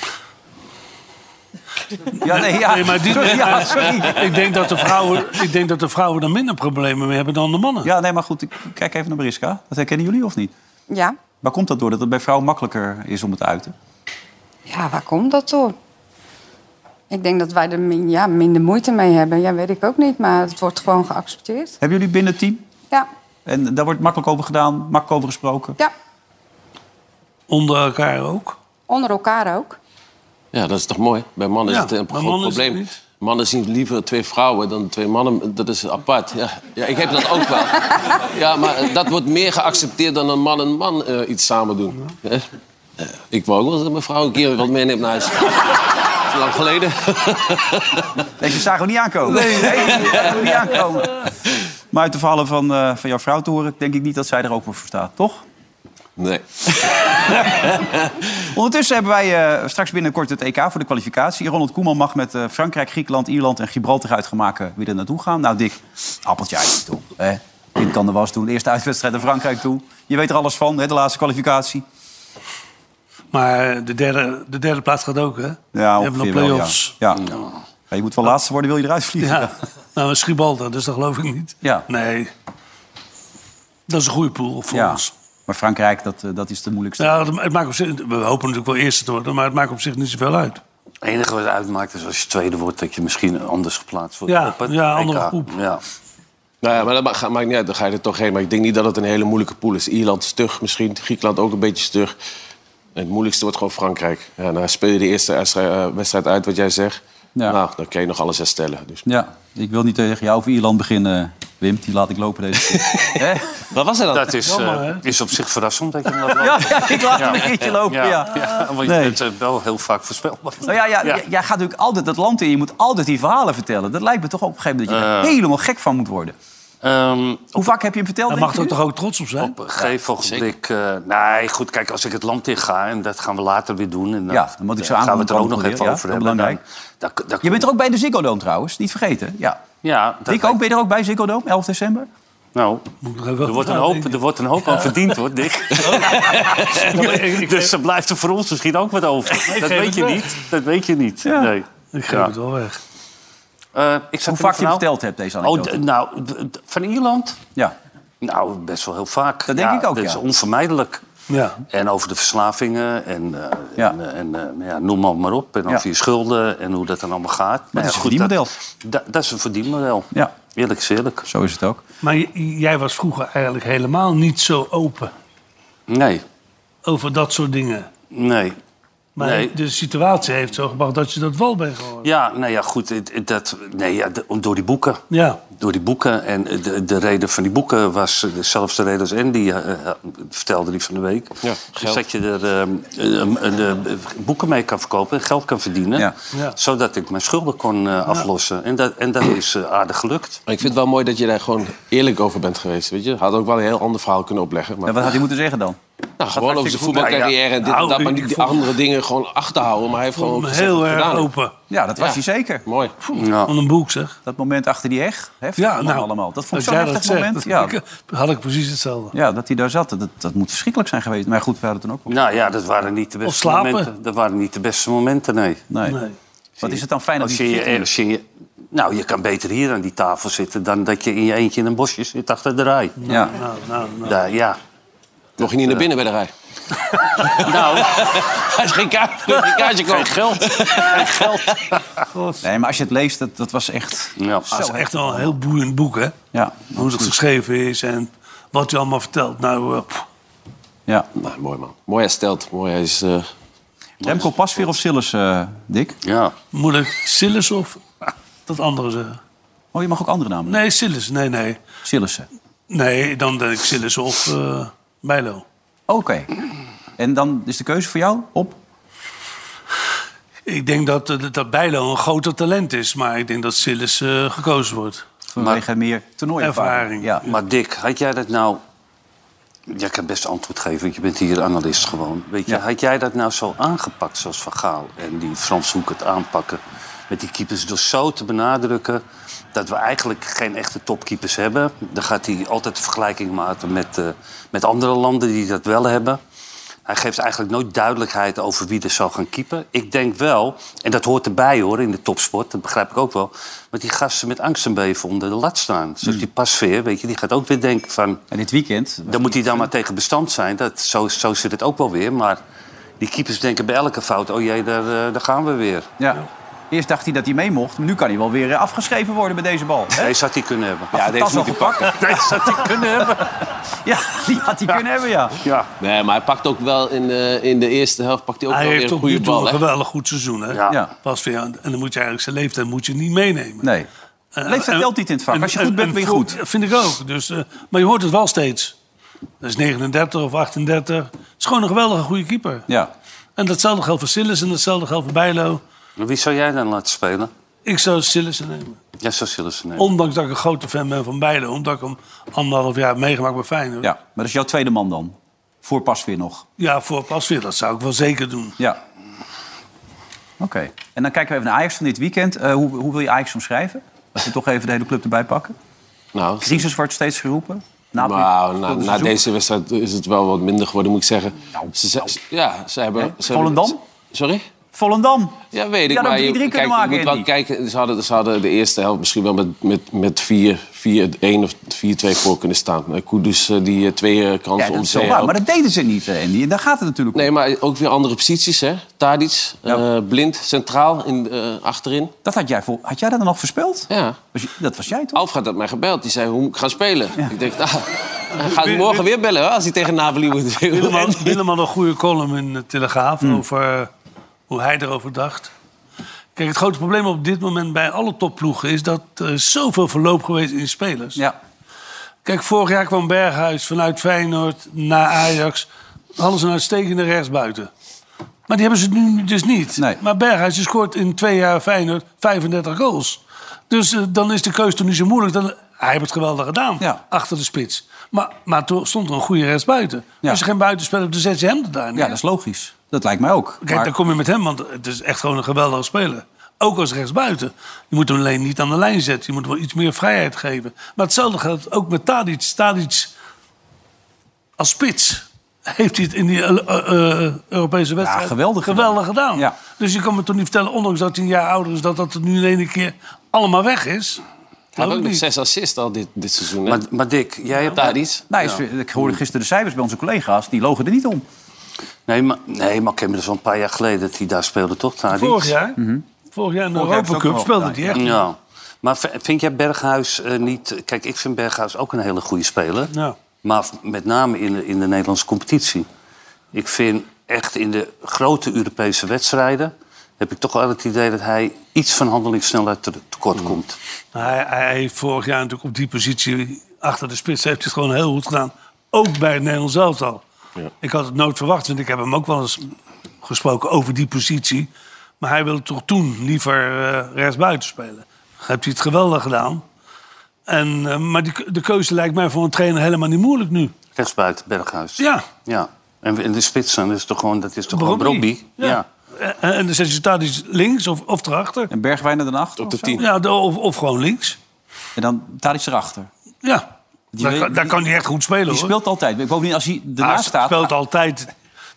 Ja, nee, ja.
Nee, maar die-
sorry, ja, sorry.
Ik denk, dat de vrouwen, ik denk dat de vrouwen er minder problemen mee hebben dan de mannen.
Ja, nee, maar goed, ik kijk even naar Mariska. Dat herkennen jullie of niet?
Ja.
Waar komt dat door? Dat het bij vrouwen makkelijker is om het te uiten?
ja, waar komt dat door? Ik denk dat wij er min- ja, minder moeite mee hebben. Ja, weet ik ook niet, maar het wordt gewoon geaccepteerd.
Hebben jullie binnen het team?
Ja,
En daar wordt makkelijk over gedaan, makkelijk over gesproken.
ja.
Onder elkaar ook.
onder elkaar ook.
Ja, dat is toch mooi? Bij mannen
Ja,
is het een
bij
groot
mannen is het
probleem.
niet.
Mannen zien liever twee vrouwen dan twee mannen. Dat is apart. Ja, ja ik heb dat ook wel. Ja, maar eh, dat wordt meer geaccepteerd dan een man en man eh, iets samen doen. Hè? Eh, Ik wou ook wel dat mijn vrouw een keer wat meeneemt naar huis. Dat is lang geleden.
Deze zagen we niet aankomen. Nee, die zagen we niet aankomen. Maar uit de verhalen van, eh, van jouw vrouw te horen, denk ik niet dat zij er ook voor staat, toch?
Nee.
Ondertussen hebben wij eh, straks binnenkort het EK voor de kwalificatie. Ronald Koeman mag met eh, Frankrijk, Griekenland, Ierland en Gibraltar uitgemaken wie er naartoe gaan. Nou, Dick, appeltje eitje toe. Hè? Dit kan de was doen. Eerste uitwedstrijd naar Frankrijk toe. Je weet er alles van, hè, de laatste kwalificatie.
Maar de derde, de derde plaats gaat ook, hè?
Ja,
Die hebben nog
ongeveer wel,
play-offs.
Ja. Ja. Ja, je moet wel laatste worden, wil je eruit vliegen.
Ja. Nou, Schibalda, dus dat geloof ik niet.
Ja.
Nee. Dat is een goede pool voor
Ja.
ons.
Maar Frankrijk, dat, eh, dat is de moeilijkste.
Ja, het het maakt op zich, we hopen natuurlijk wel eerste te worden, maar het maakt op zich niet zoveel
Oh,
uit.
Het enige wat het uitmaakt is als je tweede wordt... dat je misschien anders geplaatst wordt.
Ja,
op het
ja, andere
EK.
groep.
Ja.
Nou ja, maar dat ma- maakt niet uit. Dan ga je er toch heen. Maar ik denk niet dat het een hele moeilijke pool is. Ierland stug misschien. Griekenland ook een beetje stug. En het moeilijkste wordt gewoon Frankrijk. Ja, dan speel je de eerste wedstrijd- eh, wedstrijd uit, wat jij zegt.
Ja.
Nou, dan kan je nog alles herstellen. Dus.
Ja, ik wil niet eh, tegen jou of Ierland beginnen, Wim. Die laat ik lopen deze keer. Hè?
Wat was er dan?
Dat is,
Jammer,
eh,
hè?
is op zich verrassend dat je hem laat lopen.
Ja, ja, ik laat hem een keertje lopen, Oh, ja.
want je
Nee.
bent eh, wel heel vaak voorspelbaar.
Nou ja, ja,
Ja.
j- jij gaat natuurlijk altijd dat land in. Je moet altijd die verhalen vertellen. Dat lijkt me toch op een gegeven moment dat je
Eh.
er helemaal gek van moet worden.
Ehm,
Hoe vaak heb je hem verteld?
Daar
denk
mag
je
er
nu?
toch ook trots op zijn?
op een gegeven ogenblik... eh, nee, goed, kijk, als ik het land in ga... en dat gaan we later weer doen... en dan,
Ja, dan moet ik zo
gaan we
aankomen
het er ook nog
weer,
even
ja,
over
heel
hebben. Dan,
belangrijk.
dan, dan-
Je bent er ook bij de Ziggo Dome trouwens, niet vergeten. Ja.
Ja, dat
Dick, ook, ben je er ook bij Ziggo Dome, 11 december?
Nou,
Moet ik nog even
er wordt, een
over
hoop,
nadenken.
er wordt een hoop aan verdiend, hoor, Dick. dus er blijft er voor ons misschien ook wat over. Dat
geef
weet
het
je
weg.
niet. Dat weet je niet.
Ja.
Nee.
Ik geef
Ja.
het wel weg.
Eh, ik zag
Hoe vaak je hem
verhaal-
verteld hebt, deze
Oh,
anekdote.
d- nou, d- d- van Ierland?
ja.
Nou, best wel heel vaak.
Dat denk ik ook,
Dat
ja.
is onvermijdelijk.
Ja.
En over de verslavingen en, eh,
Ja.
en, eh, en, eh, nou ja, noem maar, maar op. En over
Ja.
je schulden en hoe dat dan allemaal gaat. Nou
is
ja,
een
goed, dat-
verdienmodel.
da- Dat is een verdienmodel.
Ja.
Eerlijk is eerlijk.
Zo is het ook.
Maar j- jij was vroeger eigenlijk helemaal niet zo open
Nee,
over dat soort dingen.
nee.
Maar
Nee.
de situatie heeft zo gebracht dat je dat wel bent geworden.
Ja, nou ja, goed. het- het- Dat, nee, ja, de- om- door die boeken.
Ja.
Door die boeken. En de, de reden van die boeken was eh, dezelfde reden als Andy. eh, eh, vertelde die van de week.
Ja,
dus
geld.
dat je er eh, eh, eh, eh, boeken mee kan verkopen en geld kan verdienen.
Ja.
Ja.
Zodat ik mijn schulden kon eh, aflossen. En, dat, en dat is eh, aardig gelukt.
Maar ik vind het wel mooi dat je daar gewoon eerlijk over bent geweest. Weet je? Had ook wel een heel ander verhaal kunnen opleggen. Maar,
En wat had hij moeten zeggen dan?
nou, gewoon over zijn
hartstikke goed.
voetbalcarrière en dit en
Nou,
dat. Maar
ik
niet die
vond-
andere dingen gewoon achterhouden. Maar hij heeft gewoon
Om
gezegd wat
heel
hij
erg
gedaan heeft.
open.
Ja, dat was
Ja.
hij zeker.
Mooi.
Ja.
Van een boek, zeg.
Dat moment achter die heg. Heftig
Ja,
man
nou,
allemaal. Dat vond
als
ik zo'n
jij dat
heftig moment.
zegt,
Ja.
dat- ik- eh, had ik precies hetzelfde.
ja, dat hij daar zat. Dat, dat moet verschrikkelijk zijn geweest. Maar goed, we hadden toen ook wel.
Nou ja, dat waren niet de beste
slapen.
momenten. Dat waren niet de beste momenten, nee.
Nee.
Nee.
Wat is het dan fijn dat
Als Oh, je,
hij...
je- als je, je- nou, je kan beter hier aan die tafel zitten dan dat je in je eentje in een bosje zit achter de rij.
Ja.
Nou, nou, nou.
Daar, ja.
Mocht je niet naar binnen bij de rij?
Nou,
Hij is geen kaart. dus Geen kaartje komen. geld.
Nee, maar als je het leest, dat, dat was echt...
ja.
Dat Ah, is echt wel een heel boeiend boek, hè?
Ja,
Hoe het geschreven is en wat je allemaal vertelt. Nou, eh, pff,
ja.
Nou, mooi man. Mooi hersteld. Mooi. Hij is, eh,
Remco Pasveer of Sillis, eh, Dick?
ja.
moet ik Sillis of dat andere zeggen?
Oh, je mag ook andere namen.
Nee, Sillis. Nee, nee.
Sillissen.
Nee, dan denk ik Sillis of eh Bijlo.
Oké. En dan is de keuze voor jou op?
Ik denk dat, eh, dat Bijlo een groter talent is, maar ik denk dat Sillis eh, gekozen wordt.
Vanwege meer toernooiervaring.
Ervaring.
Ja.
Maar Dick, had jij dat nou... Jij kan best antwoord geven, want je bent hier analist gewoon. Weet je,
Ja.
had jij dat nou zo aangepakt zoals Van Gaal en die Frans Hoek het aanpakken... met die keepers door zo te benadrukken dat we eigenlijk geen echte topkeepers hebben. Dan gaat hij altijd de vergelijking maken met, eh, met andere landen die dat wel hebben. Hij geeft eigenlijk nooit duidelijkheid over wie er zou gaan keeper. Ik denk wel, en dat hoort erbij hoor, in de topsport, dat begrijp ik ook wel... want die gasten met angst en beven onder de lat staan. Zoals die pasveer, weet je, die gaat ook weer denken van...
En dit weekend...
Dan moet hij dan maar tegen bestand zijn. Dat, zo, zo zit het ook wel weer. Maar die keepers denken bij elke fout: oh jee, daar, eh, daar gaan we weer.
Ja. Eerst dacht hij dat hij mee mocht. Maar nu kan hij wel weer eh, afgeschreven worden bij deze bal. Hè?
Deze had hij kunnen hebben.
Ja, deze moet hij pakken.
Deze had hij kunnen hebben.
Ja, die had hij kunnen hebben, ja.
Ja,
nee, maar hij pakt ook wel in de, in de eerste helft pakt hij ook
Hij
wel
heeft
weer een
tot nu
goede
toe
bal.
een
hè?
geweldig goed seizoen, hè?
ja.
ja.
Pas weer, aan- en dan moet je eigenlijk zijn leeftijd moet je niet meenemen.
Nee.
Eh,
Leeftijd
en-
telt niet in het vak.
en-
Als je goed
en-
bent,
en
ben je
voor-
goed.
Vind ik ook. Dus, eh, maar je hoort het wel steeds. Dat is 39 of 38. Het is gewoon een geweldige goede keeper.
Ja.
En datzelfde geldt voor Sillis en datzelfde geldt voor Bijlo.
Maar Wie zou jij dan laten spelen?
Ik zou Sillis nemen.
Ja, zo zullen ze nemen.
Ondanks dat ik een grote fan ben van Bijlo. Omdat ik hem anderhalf jaar heb meegemaakt bij Feyenoord.
ja, maar dat is jouw tweede man dan. Voor Pasveer nog.
Ja, voor Pasveer. Dat zou ik wel zeker doen.
Ja. Oké. En dan kijken we even naar Ajax van dit weekend. Eh, hoe, hoe wil je Ajax omschrijven? Als we toch even de hele club erbij pakken.
Nou,
Crisis wordt steeds geroepen. Napoli
Nou, na,
speelde
na
seizoen.
deze wedstrijd is het wel wat minder geworden, moet ik zeggen.
Nou.
ze, ze- ja, ze hebben... Ze
Volendam?
Hebben, sorry?
Volendam.
Ja, weet ik.
Ja, dan
maar je,
3-3 kunnen
kijk,
maken,
je moet wel
Andy.
kijken. Ze hadden, ze hadden de eerste helft misschien wel met, met, met 4, 4, 1 of 4-2 voor kunnen staan. Maar Kudus eh, die eh, twee eh, kansen
Ja, dat
om
is
zee
wel waar.
helpt.
Maar dat deden ze niet, eh, Andy. En daar gaat het natuurlijk om.
Nee, maar ook weer andere posities, hè. Tadic, eh, Blind, centraal in, eh, achterin.
Dat had jij, vol- had jij dat dan nog voorspeld?
Ja.
Was je- Dat was jij toch?
Alf had mij gebeld. Die zei hoe moet ik gaan spelen. Ik denk, nou, hij gaat morgen weer bellen hoor, als hij tegen Napoli moet.
Willem had, Willem had een goede column in de Telegraaf
Hmm.
over eh, hoe hij erover dacht. Kijk, het grote probleem op dit moment bij alle topploegen is dat er is zoveel verloop geweest in spelers.
Ja.
Kijk, vorig jaar kwam Berghuis vanuit Feyenoord naar Ajax. Dan Hadden ze een uitstekende rechtsbuiten. Maar die hebben ze nu dus niet.
Nee.
Maar Berghuis die scoort in twee jaar Feyenoord 35 goals. Dus eh, dan is de keuze toch niet zo moeilijk. Dan, hij heeft het geweldig gedaan
Ja.
achter de spits. Maar, maar toen stond er een goede rechtsbuiten.
Ja.
Als je geen buitenspeler hebt, dan zet je hem er daar neer.
ja, dat is logisch. Dat lijkt mij ook.
Kijk,
Maar-
dan kom je met hem, want het is echt gewoon een geweldige speler. Ook als rechtsbuiten. Je moet hem alleen niet aan de lijn zetten. Je moet hem wel iets meer vrijheid geven. Maar hetzelfde geldt ook met Tadic. Tadic als spits heeft hij het in die eh, eh, eh, Europese wedstrijd
geweldig gedaan.
gedaan.
Ja.
Dus je kan me toch niet vertellen, ondanks dat hij een jaar ouder is... dat dat er nu in één keer allemaal weg is.
Hij had
Geloof
ook
ik
nog
niet.
zes assists al dit, dit seizoen. hè?
Maar, maar Dick, jij hebt
Daar iets.
Nou, is- Ik hoorde gisteren de cijfers bij onze collega's. Die logen er niet om.
Nee, maar, nee, maar ik heb me dus al een paar jaar geleden dat hij daar speelde, toch? Tadic?
Vorig jaar, vorig jaar in de
Mhm. Vorig jaar
Europa
heeft hij
Cup
ook
speelde
nog
hij echt.
Ja. Maar v- vind jij Berghuis eh, niet... Kijk, ik vind Berghuis ook een hele goede speler.
Ja.
Maar v- met name in de, in de Nederlandse competitie. Ik vind echt in de grote Europese wedstrijden... heb ik toch wel het idee dat hij iets van handelingssnelheid te-
Mm.
tekort komt.
Nou, Hij, hij heeft vorig jaar natuurlijk op die positie achter de spits heeft hij het gewoon heel goed gedaan. Ook bij het Nederlands elftal. Ik had het nooit verwacht, want ik heb hem ook wel eens gesproken over die positie. Maar hij wilde toch toen liever eh rechtsbuiten spelen. Heeft hij het geweldig gedaan. En, eh, maar die, de keuze lijkt mij voor een trainer helemaal niet moeilijk nu.
Rechtsbuiten, Berghuis.
Ja.
ja. En in de spits dan is toch gewoon, dat is toch gewoon
Brobby.
Brobby?
Ja. Eh, En, en dan zet je Tadic links of, of erachter.
En Bergwijn er dan achter?
Op
of
de
zo?
tien.
Ja, de- of, of gewoon links.
En dan Tadic erachter.
Ja. Daar,
weet-
kan- daar kan hij echt goed spelen,
Die
hoor.
speelt altijd. Ik bovendien, als hij
Hij
ernaast staat...
speelt altijd.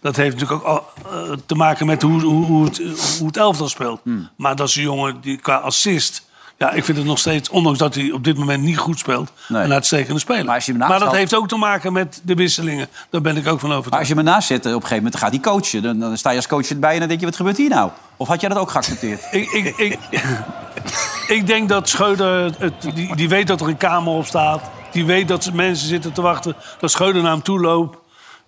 Dat heeft natuurlijk ook al, eh, te maken met hoe, hoe, hoe, het, hoe het elftal speelt.
Hmm.
Maar dat is een jongen die qua assist. Ja, ik vind het nog steeds, ondanks dat hij op dit moment niet goed speelt,
Nee.
een uitstekende speler.
Maar als je hem naast
dat
had-
heeft ook te maken met de wisselingen. Daar ben ik ook van
Maar
overtuigd.
als je hem ernaast zet, eh, op een gegeven moment gaat hij coachen. Dan, dan sta je als coach erbij en dan denk je, wat gebeurt hier nou? Of had jij dat ook geaccepteerd?
Ik, ik, ik, ik denk dat Scheuder, het, die, die weet dat er een kamer op staat. Die weet dat ze- mensen zitten te wachten. Dat Scheuder naar hem toe loopt.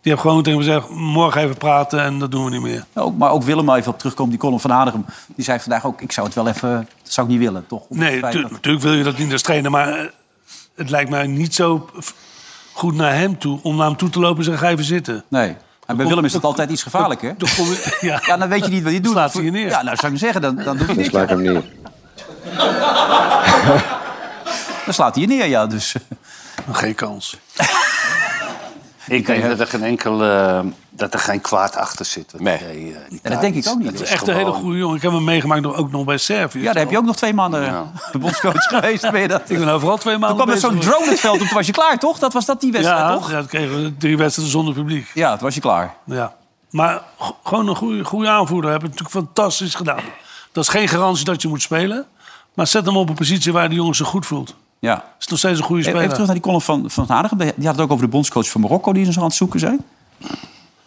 Die heeft gewoon tegen hem gezegd, morgen even praten en dat doen we niet meer.
Ook, maar ook Willem, waar even op terugkomt, die column van Hanegem... die zei vandaag ook, ik zou het wel even... Dat zou ik niet willen, toch? Om het
Nee,
feit
tu-
dat-
natuurlijk wil je dat niet als trainer. Maar eh, het lijkt mij niet zo f- goed naar hem toe... om naar hem toe te lopen en zeggen, ga even zitten.
Nee. En bij Willem is het altijd iets gevaarlijker.
Dan kom je- ja.
Ja, dan weet je niet wat hij doet.
Slaat hij je neer.
Ja, nou zou ik hem zeggen, dan, dan doet hij niks.
Slaat hem neer.
Dan slaat hij je neer, ja. Dus.
Geen kans.
Ik denk dat er geen enkel, eh, dat er geen kwaad achter zit. eh,
Nee.
Ja, dat denk ik ook niet.
Dat
Het
is
Echt een hele
gewoon-
goede jongen. Ik heb hem meegemaakt nog- ook nog bij Servië.
Ja, daar heb je ook nog twee maanden
Ja.
eh, bondscoach geweest. Ben je dat?
Ik ben overal twee
Toen
maanden
kwam er zo'n
bezig
drone het veld op, toen was je klaar, toch? Dat was dat die
geweest.
wedstrijd,
Ja,
toch?
ja, dan kregen we drie wedstrijden zonder publiek.
Ja, toen was je klaar.
Ja. Maar go- gewoon een goede, goede aanvoerder. Hebben het natuurlijk fantastisch gedaan. Dat is geen garantie dat je moet spelen. Maar zet hem op een positie waar de jongen zich goed voelt.
Ja.
Is nog steeds een goede
Even
speler.
terug naar die column van, van Van Hanegem. Die had het ook over de bondscoach van Marokko die ze aan het zoeken zijn.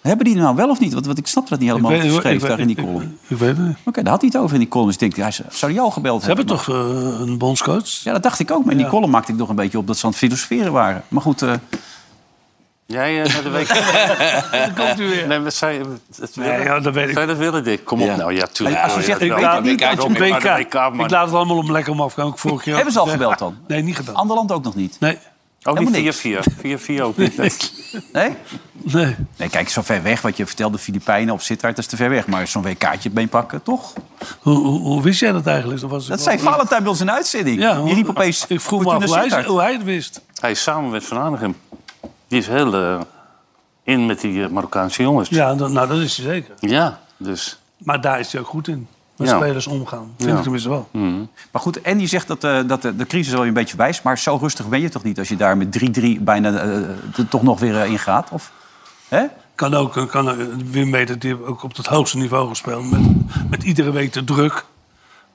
Hebben die nou wel of niet? Want, want ik snap dat niet helemaal wat hij schreef daar in die column. Oké,
Ik, ik weet het niet.
daar had hij het over in die column. Dus ik denk, hij zou- zou die al gebeld
Ze hebben
hebben?
toch eh, een bondscoach?
Ja, dat dacht ik ook. Maar in die
Ja.
column maakte ik nog een beetje op dat ze aan het filosoferen waren. Maar goed, eh,
Jij eh, naar de week.
Komt u weer.
nee, maar zij het
Nee,
willen.
ja, dat weet ik.
Zou je dat willen, Dick? Kom op
Ja.
nou, ja, tuurlijk.
Als je
wil
zegt,
dat
Ik
wel.
laat niet
WK,
uit je
kom
ik. Maar
WK.
de WK, man.
Ik laat het allemaal om lekker om afgaan. Ik vorige keer ook.
hebben ze al gebeld dan?
Nee, niet gedaan.
Ander land ook nog niet.
Nee,
Ook
Helemaal
niet
niks.
4-4. 4-4 ook niet. Nee.
Nee?
nee.
Nee, kijk, zo ver weg. Wat je vertelde, Filipijnen of Sittard, dat is te ver weg. Maar zo'n WK'tje beenpakken, toch?
Hoe, hoe, hoe wist jij dat eigenlijk? Of was het
Dat
wel-
zei Valentijn bij ons in de uitzending.
Ja,
die riep opeens...
Ik vroeg me
Fortuna
af hoe hij,
Sittard.
hoe hij het wist.
Hij is samen met Van Aanigem. Die is heel eh, in met die eh, Marokkaanse jongens.
Ja, dat- nou, dat is hij zeker.
Ja, dus.
Maar daar is hij ook goed in. Met
Ja.
spelers omgaan. Vind
Ja.
ik tenminste wel.
Maar goed, en die zegt dat, eh, dat de, de crisis al een beetje voorbij is. Maar zo rustig ben je toch niet als je daar met 3-3 bijna eh, er toch nog weer eh, in gaat? Of, hè?
Kan ook, kan, ook- Wim weet het, die heeft ook op het hoogste niveau gespeeld. Met, met iedere week de druk.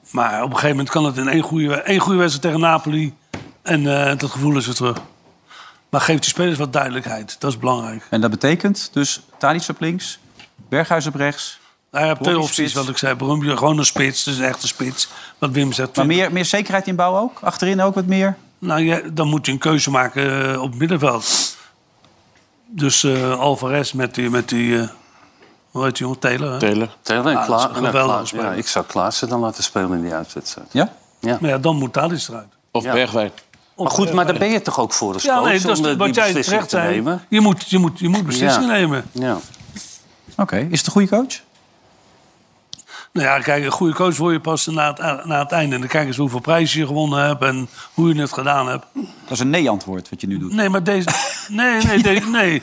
Maar op een gegeven moment kan het in één goede, één goede wedstrijd tegen Napoli. En eh, dat gevoel is weer terug. Maar geef die spelers wat duidelijkheid. Dat is belangrijk.
En dat betekent dus Tadic op links, Berghuis op rechts.
Nou ja, twee
Brobby
opties,
spits.
wat ik zei. Brombje, gewoon een spits. Dus een echte spits. Wat Wim zegt.
Maar meer, meer zekerheid inbouwen ook? Achterin ook wat meer?
Nou, ja, dan moet je een keuze maken eh, op het middenveld. Dus eh, Alvarez met die... Met die eh, hoe heet die jongen? Taylor, hè?
Taylor.
Taylor
Ah,
en
dat is
Klaas.
een geweldige
Klaas-
speler.
ja, ik zou Klaassen dan laten spelen in die uitwedstrijd.
Ja?
Maar ja, dan moet Tadic eruit.
Of
Ja.
Bergwijn.
Maar goed, maar daar ben je toch ook voor als
eh, Ja,
coach
nee, dat
om
is
eh, die
wat jij
beslissing
terecht
te
zei.
nemen?
Je moet, je moet, je moet beslissingen
Ja.
nemen.
Ja.
Oké, is het een goede coach?
Nou ja, kijk, een goede coach word je pas na het, na het einde. En dan kijk eens hoeveel prijzen je gewonnen hebt en hoe je het gedaan hebt.
Dat is een nee-antwoord wat je nu doet.
Nee, maar deze... Nee, nee, deze, nee.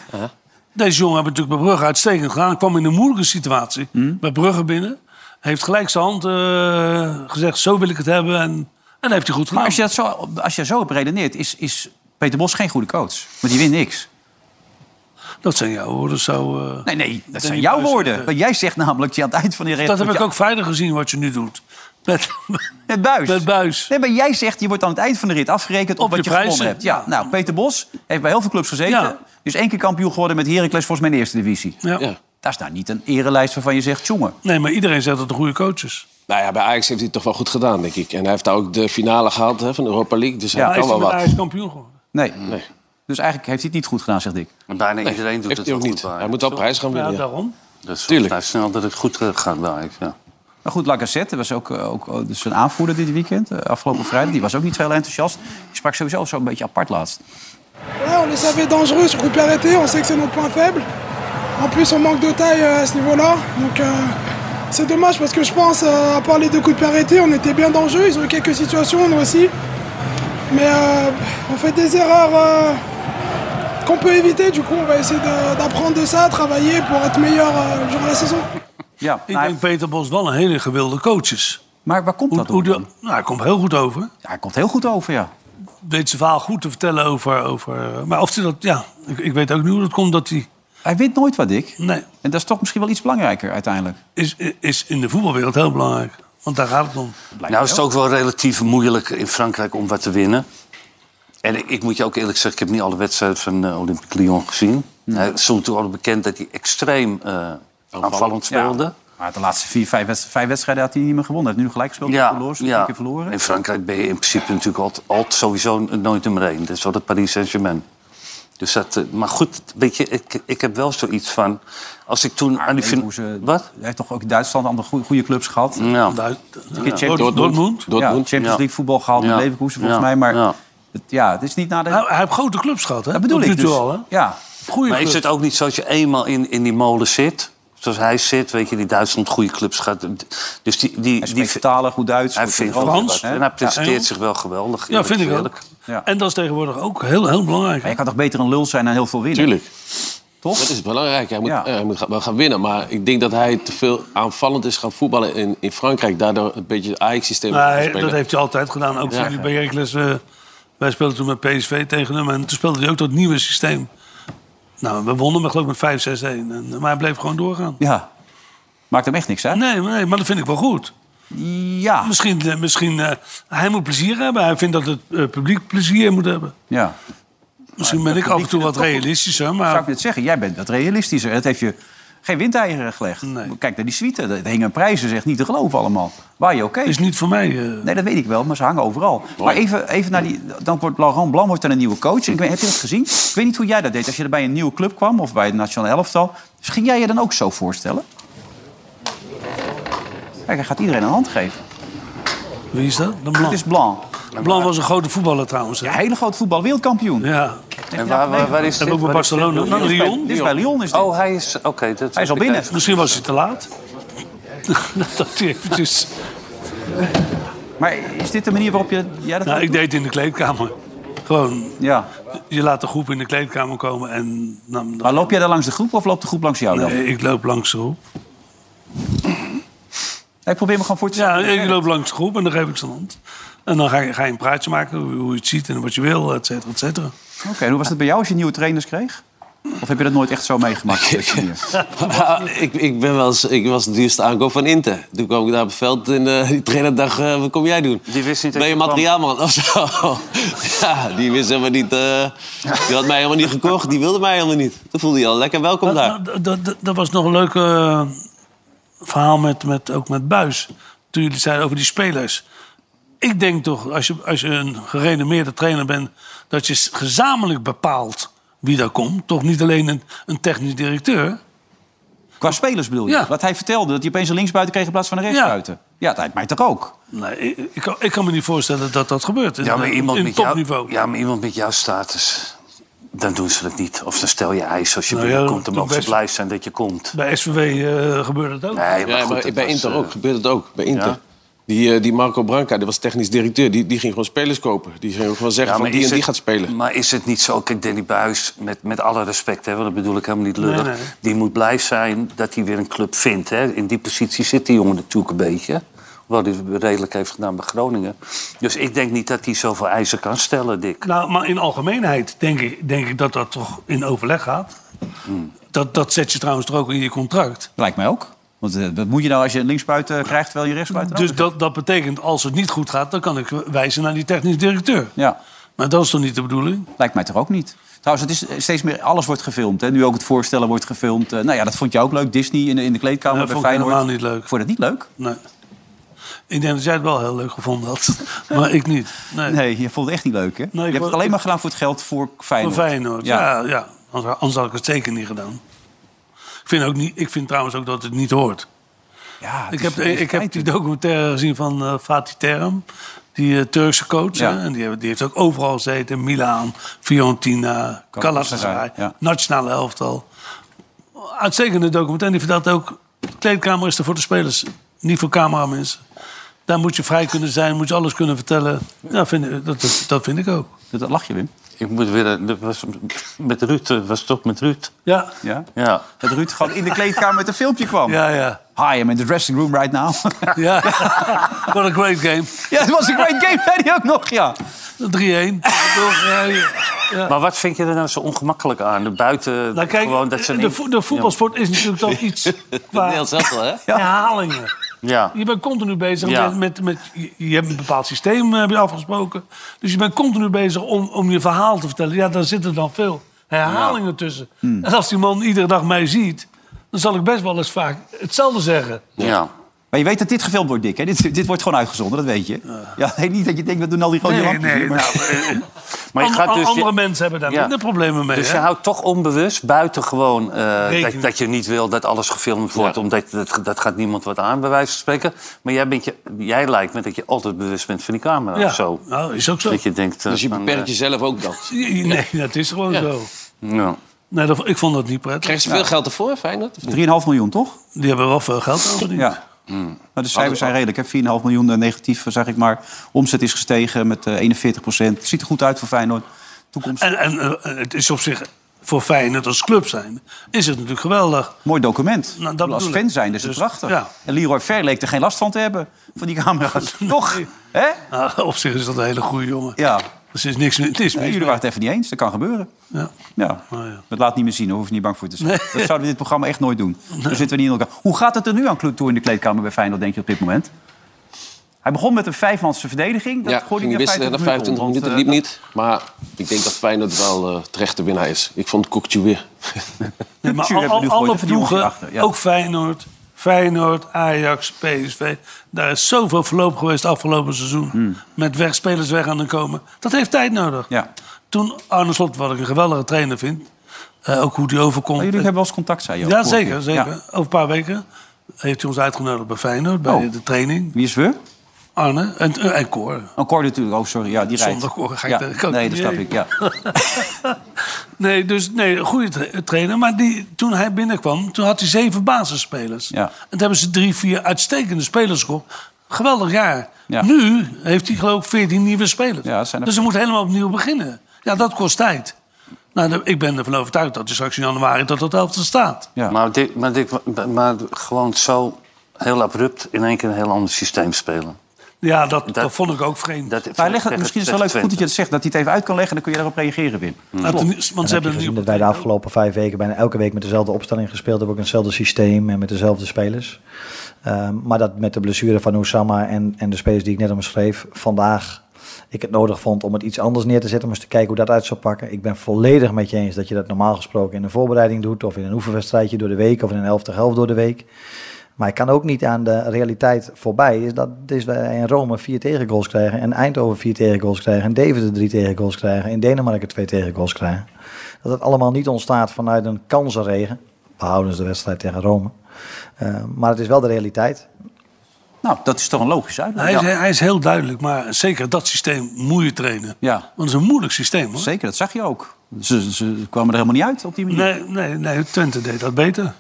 Deze jongen hebben natuurlijk bij Brugge uitstekend gedaan. Kwam in een moeilijke situatie bij Brugge binnen. Heeft gelijk zijn hand eh, gezegd, zo wil ik het hebben. En, en heeft hij goed
Maar
gedaan.
als je, dat zo, als je zo op redeneert, is, is Peter Bos geen goede coach. Want die wint niks.
Dat zijn jouw woorden zo... eh,
Nee, nee, dat zijn
niet
jouw
juist,
woorden.
eh,
Want jij zegt namelijk die aan het eind van die reden.
Dat heb ik ook vrijdag gezien, wat je nu doet. Met,
Met buis.
met buis.
Nee, maar jij zegt, je wordt aan het eind van de rit afgerekend op,
Op
wat je
je
gewonnen hebt.
prijzen.
Ja, nou, Peter Bos heeft bij heel veel clubs gezeten.
Ja.
Dus één keer kampioen geworden met Heracles, volgens mij in de eerste divisie.
Ja.
Ja.
Dat is nou niet een erelijst waarvan je zegt, jongen.
Nee, maar iedereen zegt dat het een goede coach is.
Nou ja, bij Ajax heeft hij het toch wel goed gedaan, denk ik. En hij heeft daar ook de finale gehaald hè, van de Europa League. Dus
Ja,
hij
Hij
kan
is
wel
met
wat.
Ajax kampioen geworden.
Nee.
Nee.
Dus eigenlijk heeft hij het niet goed gedaan, zegt ik.
En bijna
Nee,
iedereen doet
heeft hij
het wel
ook
goed
niet.
bij.
Hij moet wel prijs gaan
Ja,
winnen. ja.
daarom.
Dus
Tuurlijk.
vrij snel dat het goed eh, gaat bij Ajax, ja.
Maar goed, Lacazette was ook, eh, ook eh, dus een aanvoerder dit weekend, eh, afgelopen vrijdag. Die was ook niet heel enthousiast. Die sprak sowieso zo'n beetje apart laatst.
Ouais, on les savait dangereux sur coup de pied arrêté, on sait que c'est notre point faible. En plus, on manque de taille euh, à ce niveau-là. Donc, euh, c'est dommage parce que je pense, euh, à part les deux coups de pied arrêtés, on était bien dans le jeu. Ils ont eu quelques situations, nous aussi. Mais euh, on fait des erreurs euh, qu'on peut éviter. Du coup, on va essayer de- d'apprendre de ça, travailler pour être meilleur euh, durant la saison.
Ja,
Ik
nou,
denk Peter Bos wel een hele gewilde coach is.
maar waar komt
Hoe,
dat
hoe
door?
die-
dan?
nou, hij komt heel goed over.
Ja, hij komt heel goed over, ja.
Weet zijn verhaal goed te vertellen over... over eh, maar of hij dat... Ja, ik, ik weet ook niet hoe dat komt dat hij...
Hij wint nooit wat, Dick.
Nee,
En dat is toch misschien wel iets belangrijker uiteindelijk.
is, is in de voetbalwereld heel belangrijk. Want daar gaat het om.
nou is het ook wel relatief moeilijk in Frankrijk om wat te winnen. En ik, ik moet je ook eerlijk zeggen, ik heb niet alle wedstrijden van eh, Olympique Lyon gezien. Eh, Hij stond toen al bekend dat hij extreem eh, aanvallend speelde.
Ja. Maar de laatste vier, vijf, wedst- vijf wedstrijden had hij niet meer gewonnen. Hij heeft nu gelijk gespeeld, ja. verloren, is nog een keer verloren.
In Frankrijk ben je in principe natuurlijk altijd, altijd sowieso nooit nummer één. Dat is altijd Paris Saint-Germain. Dus dat, eh, maar goed, weet je, ik, ik heb wel zoiets van... Als ik toen aan die...
weet
fin-
hoe ze-
Wat?
Hij heeft toch ook in Duitsland andere goede, goede clubs gehad.
Ja.
Duit-
keer Champions-
Dortmund. Dortmund.
Ja,
Dortmund.
Champions League voetbal gehaald met
Ja.
Leverkusen volgens
Ja.
mij. Maar
Ja.
Het, ja, het is niet naar de...
Hij, hij heeft grote clubs gehad, hè?
dat bedoel
Tot nu
ik dus.
toe al, hè?
Ja,
Goeie
Maar is
clubs.
het ook niet zo als je eenmaal in, in die molen zit... Zoals hij zit, weet je, die Duitsland goede clubs gaat... Dus die, die,
hij
die,
spreekt talen, goed Duits.
hij
goed
vindt
Frans,
Frans. nou,
hè?
En hij
Ja.
presenteert zich wel geweldig.
Ja, vind ik ook.
eerlijk.
Ja.
En dat is tegenwoordig ook heel, heel belangrijk.
Maar je kan toch beter een lul zijn en heel veel winnen,
Tuurlijk.
toch?
Dat is belangrijk. Hij moet,
Ja.
eh, hij moet ga- wel gaan winnen. Maar ik denk dat hij te veel aanvallend is gaan voetballen in, in Frankrijk. Daardoor een beetje het Ajax-systeem
Maar
gaat
hij-
spelen.
dat heeft hij altijd gedaan. Ook
Ja.
toen hij bij Heracles... eh, wij speelden toen met PSV tegen hem. En toen speelde hij ook dat nieuwe systeem. Nou, we wonnen hem geloof ik met 5-6-1. En- eh, Maar hij bleef gewoon doorgaan.
Ja. Maakt hem echt niks uit.
Nee, maar nee, maar dat vind ik wel goed.
Ja.
Misschien, eh, misschien eh, hij moet plezier hebben. Hij vindt dat het eh, publiek plezier moet hebben.
ja.
Misschien ben ik af en toe wat realistischer,
Zou ik
maar...
net zeggen, jij bent wat realistischer. Het heeft je geen windeieren gelegd.
Nee.
Kijk naar die suite. Er hingen prijzen, zeg, niet te geloven allemaal. Waar je oké.
Is niet voor mij. eh.
Nee, dat weet ik wel, maar ze hangen overal. Maar even, even naar die... Dan wordt Laurent Blanc wordt dan een nieuwe coach. Ik weet, heb je dat gezien? Ik weet niet hoe jij dat deed. Als je er bij een nieuwe club kwam of bij het Nationaal Elftal... Dus ging jij je dan ook zo voorstellen? Kijk, hij gaat iedereen een hand geven.
Wie is dat? De
Het
Blanc.
is Blanc.
Blanc was een grote voetballer trouwens. hè?
Een hele grote voetbal, wereldkampioen.
Ja.
En waar, waar, waar is
En
dit?
ook bij
Waar is dit?
Barcelona. Nou, Lyon.
Dit is bij Lyon is dit.
Oh, hij is... Oké, dat
hij is al
heb ik
binnen.
even-
Misschien was hij te laat. dat hij eventjes...
Maar is dit de manier waarop je... Jij dat
Nou,
ook
ik
doet?
deed het in de kleedkamer. Gewoon,
Ja.
je laat de groep in de kleedkamer komen en... Nou,
Maar loop jij daar langs de groep of loopt de groep langs jou dan?
nee, ik loop langs de groep.
Ik probeer me gewoon voor te
Ja,
stellen.
ik loop langs de groep en dan geef ik zijn hand. En dan ga je, ga je een praatje maken, hoe, hoe je het ziet en wat je wil, et cetera, et cetera.
Oké, en hoe was het bij jou als je nieuwe trainers kreeg? Of heb je dat nooit echt zo meegemaakt? op deze manier?
Ja, ik, ik, ben wel eens, ik was de duurste aankoop van Inter. Toen kwam ik daar op het veld en eh, die trainer dacht, eh, wat kom jij doen?
Die wist niet dat
Ben je
je kwam.
materiaalman of zo? ja, die wist helemaal niet. eh, die had mij helemaal niet gekocht. Die wilde mij helemaal niet. Toen voelde je al lekker welkom daar.
Nou, dat- dat- dat- Dat was nog een leuk eh, verhaal met, met, ook met Buis. Toen jullie zeiden over die spelers. Ik denk toch, als je, als je een gerenommeerde trainer bent... dat je s- gezamenlijk bepaalt wie daar komt. Toch niet alleen een, een technisch directeur.
Qua spelers bedoel je?
Ja.
Wat hij vertelde, dat hij opeens een linksbuiten kreeg in plaats van een rechtsbuiten. Ja, dat lijkt mij toch ook?
Nee, ik, ik, kan- ik kan me niet voorstellen dat dat gebeurt. In,
Ja, maar
in- eh,
iemand,
in
met
topniveau.
jou, ja, maar iemand met jouw status, dan doen ze dat niet. Of dan stel je eisen als je
Nou ja,
binnenkomt. Dan
doe
mogen ze
best.
blij zijn dat je komt.
Bij SVW eh, gebeurde het ook.
Nee, maar
Ja,
goed,
maar
dat
bij
was,
Inter
eh,
ook, gebeurt het ook. Bij Inter.
Ja.
Die, eh, die Marco Branca, die was technisch directeur. Die, die ging gewoon spelers kopen. Die ging gewoon zeggen
maar
van die
is
en die
het-
gaat spelen.
Maar is het niet zo, kijk, Danny Buis, met, met alle respect, hè, want dat bedoel ik helemaal niet lullig.
Nee, nee.
Die moet blij zijn dat hij weer een club vindt. Hè. In die positie zit die jongen natuurlijk een beetje. Hoewel hij het redelijk heeft gedaan bij Groningen. Dus ik denk niet dat hij zoveel eisen kan stellen, Dick.
Nou, maar in algemeenheid denk ik, denk ik dat dat toch in overleg gaat.
Hmm.
Dat, dat zet je trouwens toch ook in je contract.
Lijkt mij ook. Want eh, wat moet je nou als je een linksbuiten krijgt, terwijl je rechtsbuiten
Dus
ook-
dat, dat betekent, als het niet goed gaat... dan kan ik wijzen naar die technisch directeur.
Ja,
Maar dat is toch niet de bedoeling?
lijkt mij toch ook niet? Trouwens, het is eh, steeds meer, alles wordt gefilmd. Hè? Nu ook het voorstellen wordt gefilmd. Eh, nou ja, dat vond je ook leuk, Disney in de, in de kleedkamer
Dat
bij
vond ik
Feyenoord.
helemaal niet leuk.
Vond je dat niet leuk?
Nee. Ik denk dat jij het wel heel leuk gevonden had. maar ik niet. Nee.
Nee, je vond het echt niet leuk, hè? je hebt
vond-
het alleen maar gedaan voor het geld voor
Van
Feyenoord.
Feyenoord. Ja, ja. Anders, anders had ik het zeker niet gedaan. Ik vind, ook niet, ik vind trouwens ook dat het niet hoort.
Ja, Ah, het
Ik
is-
heb,
het is
ik heb die
spijtig.
documentaire gezien van eh, Fatih Terim. Die eh, Turkse coach.
Ja.
hè, en die, heeft- die heeft ook overal gezeten. Milaan, Fiorentina, Galatasaray.
ja.
Nationale elftal. Uitstekende documentaire. Die vertelt ook... de kleedkamer is er voor de spelers. Niet voor cameramensen. Daar moet je vrij kunnen zijn. Moet je alles kunnen vertellen. Ja, vind, ik- dat, dat, dat vind ik ook.
Dat, dat lach je, Wim.
Ik moet weer... eh, dat was met Ruud, eh, was het toch met Ruud?
Ja,
Ja?
Ja.
Dat Ruud gewoon in de kleedkamer met een filmpje kwam.
ja, ja.
Hi, I'm in the dressing room right now.
ja. What a great game.
ja, het was een great game, zei hij ook nog, ja.
3-1.
Maar wat vind je er nou zo ongemakkelijk aan? Buiten
Nou, kijk,
gewoon dat ze...
de, vo- de voetbalsport is natuurlijk dan iets qua
Nederlands elftal, hè?
herhalingen.
Ja.
Je bent continu bezig
Ja.
met, met, met- je- Je hebt een bepaald systeem eh, heb je afgesproken. Dus je bent continu bezig om, om je verhaal te vertellen. Ja, daar zitten dan veel herhalingen tussen. En als die man iedere dag mij ziet... dan zal ik best wel eens vaak hetzelfde zeggen.
ja.
Maar je weet dat dit gefilmd wordt, Dick. Hè? Dit, dit wordt gewoon uitgezonden, dat weet je. Ja, nee, niet dat je denkt, we doen al die grote lampjes hier, maar-
Maar je
An-
gaat
an-
dus... je-
andere mensen hebben daar
Ja.
minder problemen mee.
Dus
hè?
je houdt toch onbewust buitengewoon eh
Rekening.
dat, dat je niet wil dat alles gefilmd wordt, omdat dat, dat gaat niemand wat aan, bij wijze van spreken. Maar jij, bent je, jij lijkt me dat je altijd bewust bent van die camera
ja.
of zo.
Nou, is ook zo.
Dat je denkt. eh,
Dus je
van,
beperkt
eh,
jezelf ook dan.
Nee, dat is gewoon zo.
ja.
Nee, dat, ik vond dat niet prettig.
Krijg je veel geld ervoor, Feyenoord? Of niet?
3,5 miljoen, toch?
Die hebben wel veel geld aan verdiend.
Ja. Nou, de cijfers zijn redelijk. hè. 4,5 miljoen eh, negatief, zeg ik maar. Omzet is gestegen met eh, 41 procent. Ziet er goed uit voor Feyenoord. Toekomst.
En, en eh, het is op zich voor Feyenoord als club zijn, is het natuurlijk geweldig.
Mooi document.
Nou, dat
Ik bedoel, als
bedoel
fan
ik.
zijn is het
Dus,
prachtig.
ja.
En Leroy Ver leek er geen last van te hebben. Van die camera's. Toch? Hè?
Nou, op zich is dat een hele goede jongen.
Ja.
Dus er is niks meer. Het is
Nee,
niks
jullie waren het even niet eens. Dat kan gebeuren.
meer. Ja.
Ja.
Oh, ja.
Dat laat niet meer zien. Daar hoef je niet bang voor te zijn. Dat zouden we in dit programma echt nooit doen. Daar zitten we niet in elkaar. Hoe gaat het er nu aan toe in de kleedkamer bij Feyenoord, denk je, op dit moment? Hij begon met een vijfmanse verdediging. Dat
Ja,
gooide
ging
hij
wisselen na 25
om, want,
minuten,
eh,
liep niet. Maar ik denk dat Feyenoord wel eh, terecht de winnaar is. Ik vond Kokju weer.
Nee, maar
Tuurlijk
al, al-
hebben we nu gegooid,
alle
even die jongens
ploegen,
hierachter, ja.
ook Feyenoord, Feyenoord, Ajax, PSV... daar is zoveel verloop geweest afgelopen seizoen. Met weg, spelers weg aan het komen. Dat heeft tijd nodig.
Hmm. Ja.
Toen Arne Slot, wat ik een geweldige trainer vind... eh, ook hoe die overkomt.
Maar jullie hebben wel eens contact, zei je ook,
ja,
vorige
zeker.
keer.
zeker.
Ja.
Over een paar weken heeft hij ons uitgenodigd bij Feyenoord... bij
Oh.
de training.
Wie is we?
Arne en, en Cor.
Een koor natuurlijk. Oh, sorry. Ja, die rijdt.
Zonder Cor ga ik
Ja.
daar- kan ik
Nee,
niet
dat snap
heen.
ik. Ja.
Nee, dus nee, een goede tra- trainer. Maar die, toen hij binnenkwam, toen had hij zeven basisspelers.
Ja.
En toen hebben ze drie, vier uitstekende spelers gekocht. Geweldig jaar.
Ja.
Nu heeft hij geloof ik veertien nieuwe spelers.
Ja, dat zijn er-
Dus ze moeten helemaal opnieuw beginnen. Ja, dat kost tijd. Nou, de- ik ben ervan overtuigd dat hij straks in januari tot dat helft staat.
Ja.
Maar, dit, maar, dit, maar gewoon zo heel abrupt in één keer een heel ander systeem spelen.
Ja, dat, dat,
Dat-
vond ik ook vreemd.
Dat,
Maar hij legt het, misschien is het wel leuk goed dat je het zegt. Dat hij het even uit kan leggen. Dan kun je daarop reageren, Wim.
Nou, ten- want ze hebben een
gezien
nieuw...
dat wij de afgelopen vijf weken bijna elke week met dezelfde opstelling gespeeld hebben. Ook in hetzelfde systeem en met dezelfde spelers. Ehm, maar dat met de blessure van Oussama en, en de spelers die ik net omschreef. Vandaag ik het nodig vond om het iets anders neer te zetten. Om eens te kijken hoe dat uit zou pakken. Ik ben volledig met je eens dat je dat normaal gesproken in een voorbereiding doet. Of in een oefenwedstrijdje door de week. Of in een elf tegen elf door de week. Maar ik kan ook niet aan de realiteit voorbij. Is dat is wij in Rome vier tegengoals krijgen. En Eindhoven vier tegengoals krijgen. En Deventer drie tegengoals krijgen. In Denemarken twee tegengoals krijgen. Dat het allemaal niet ontstaat vanuit een kansenregen. We houden dus de wedstrijd tegen Rome. Eh, maar het is wel de realiteit.
Nou, dat is toch een logische
hij,
uitleg.
is,
Ja.
hij is heel duidelijk, maar zeker dat systeem moet je trainen.
Ja.
Want het is een moeilijk systeem, hoor.
Zeker, dat zag je ook. Ze, ze kwamen er helemaal niet uit op die manier.
Nee, nee, nee, Twente deed dat beter.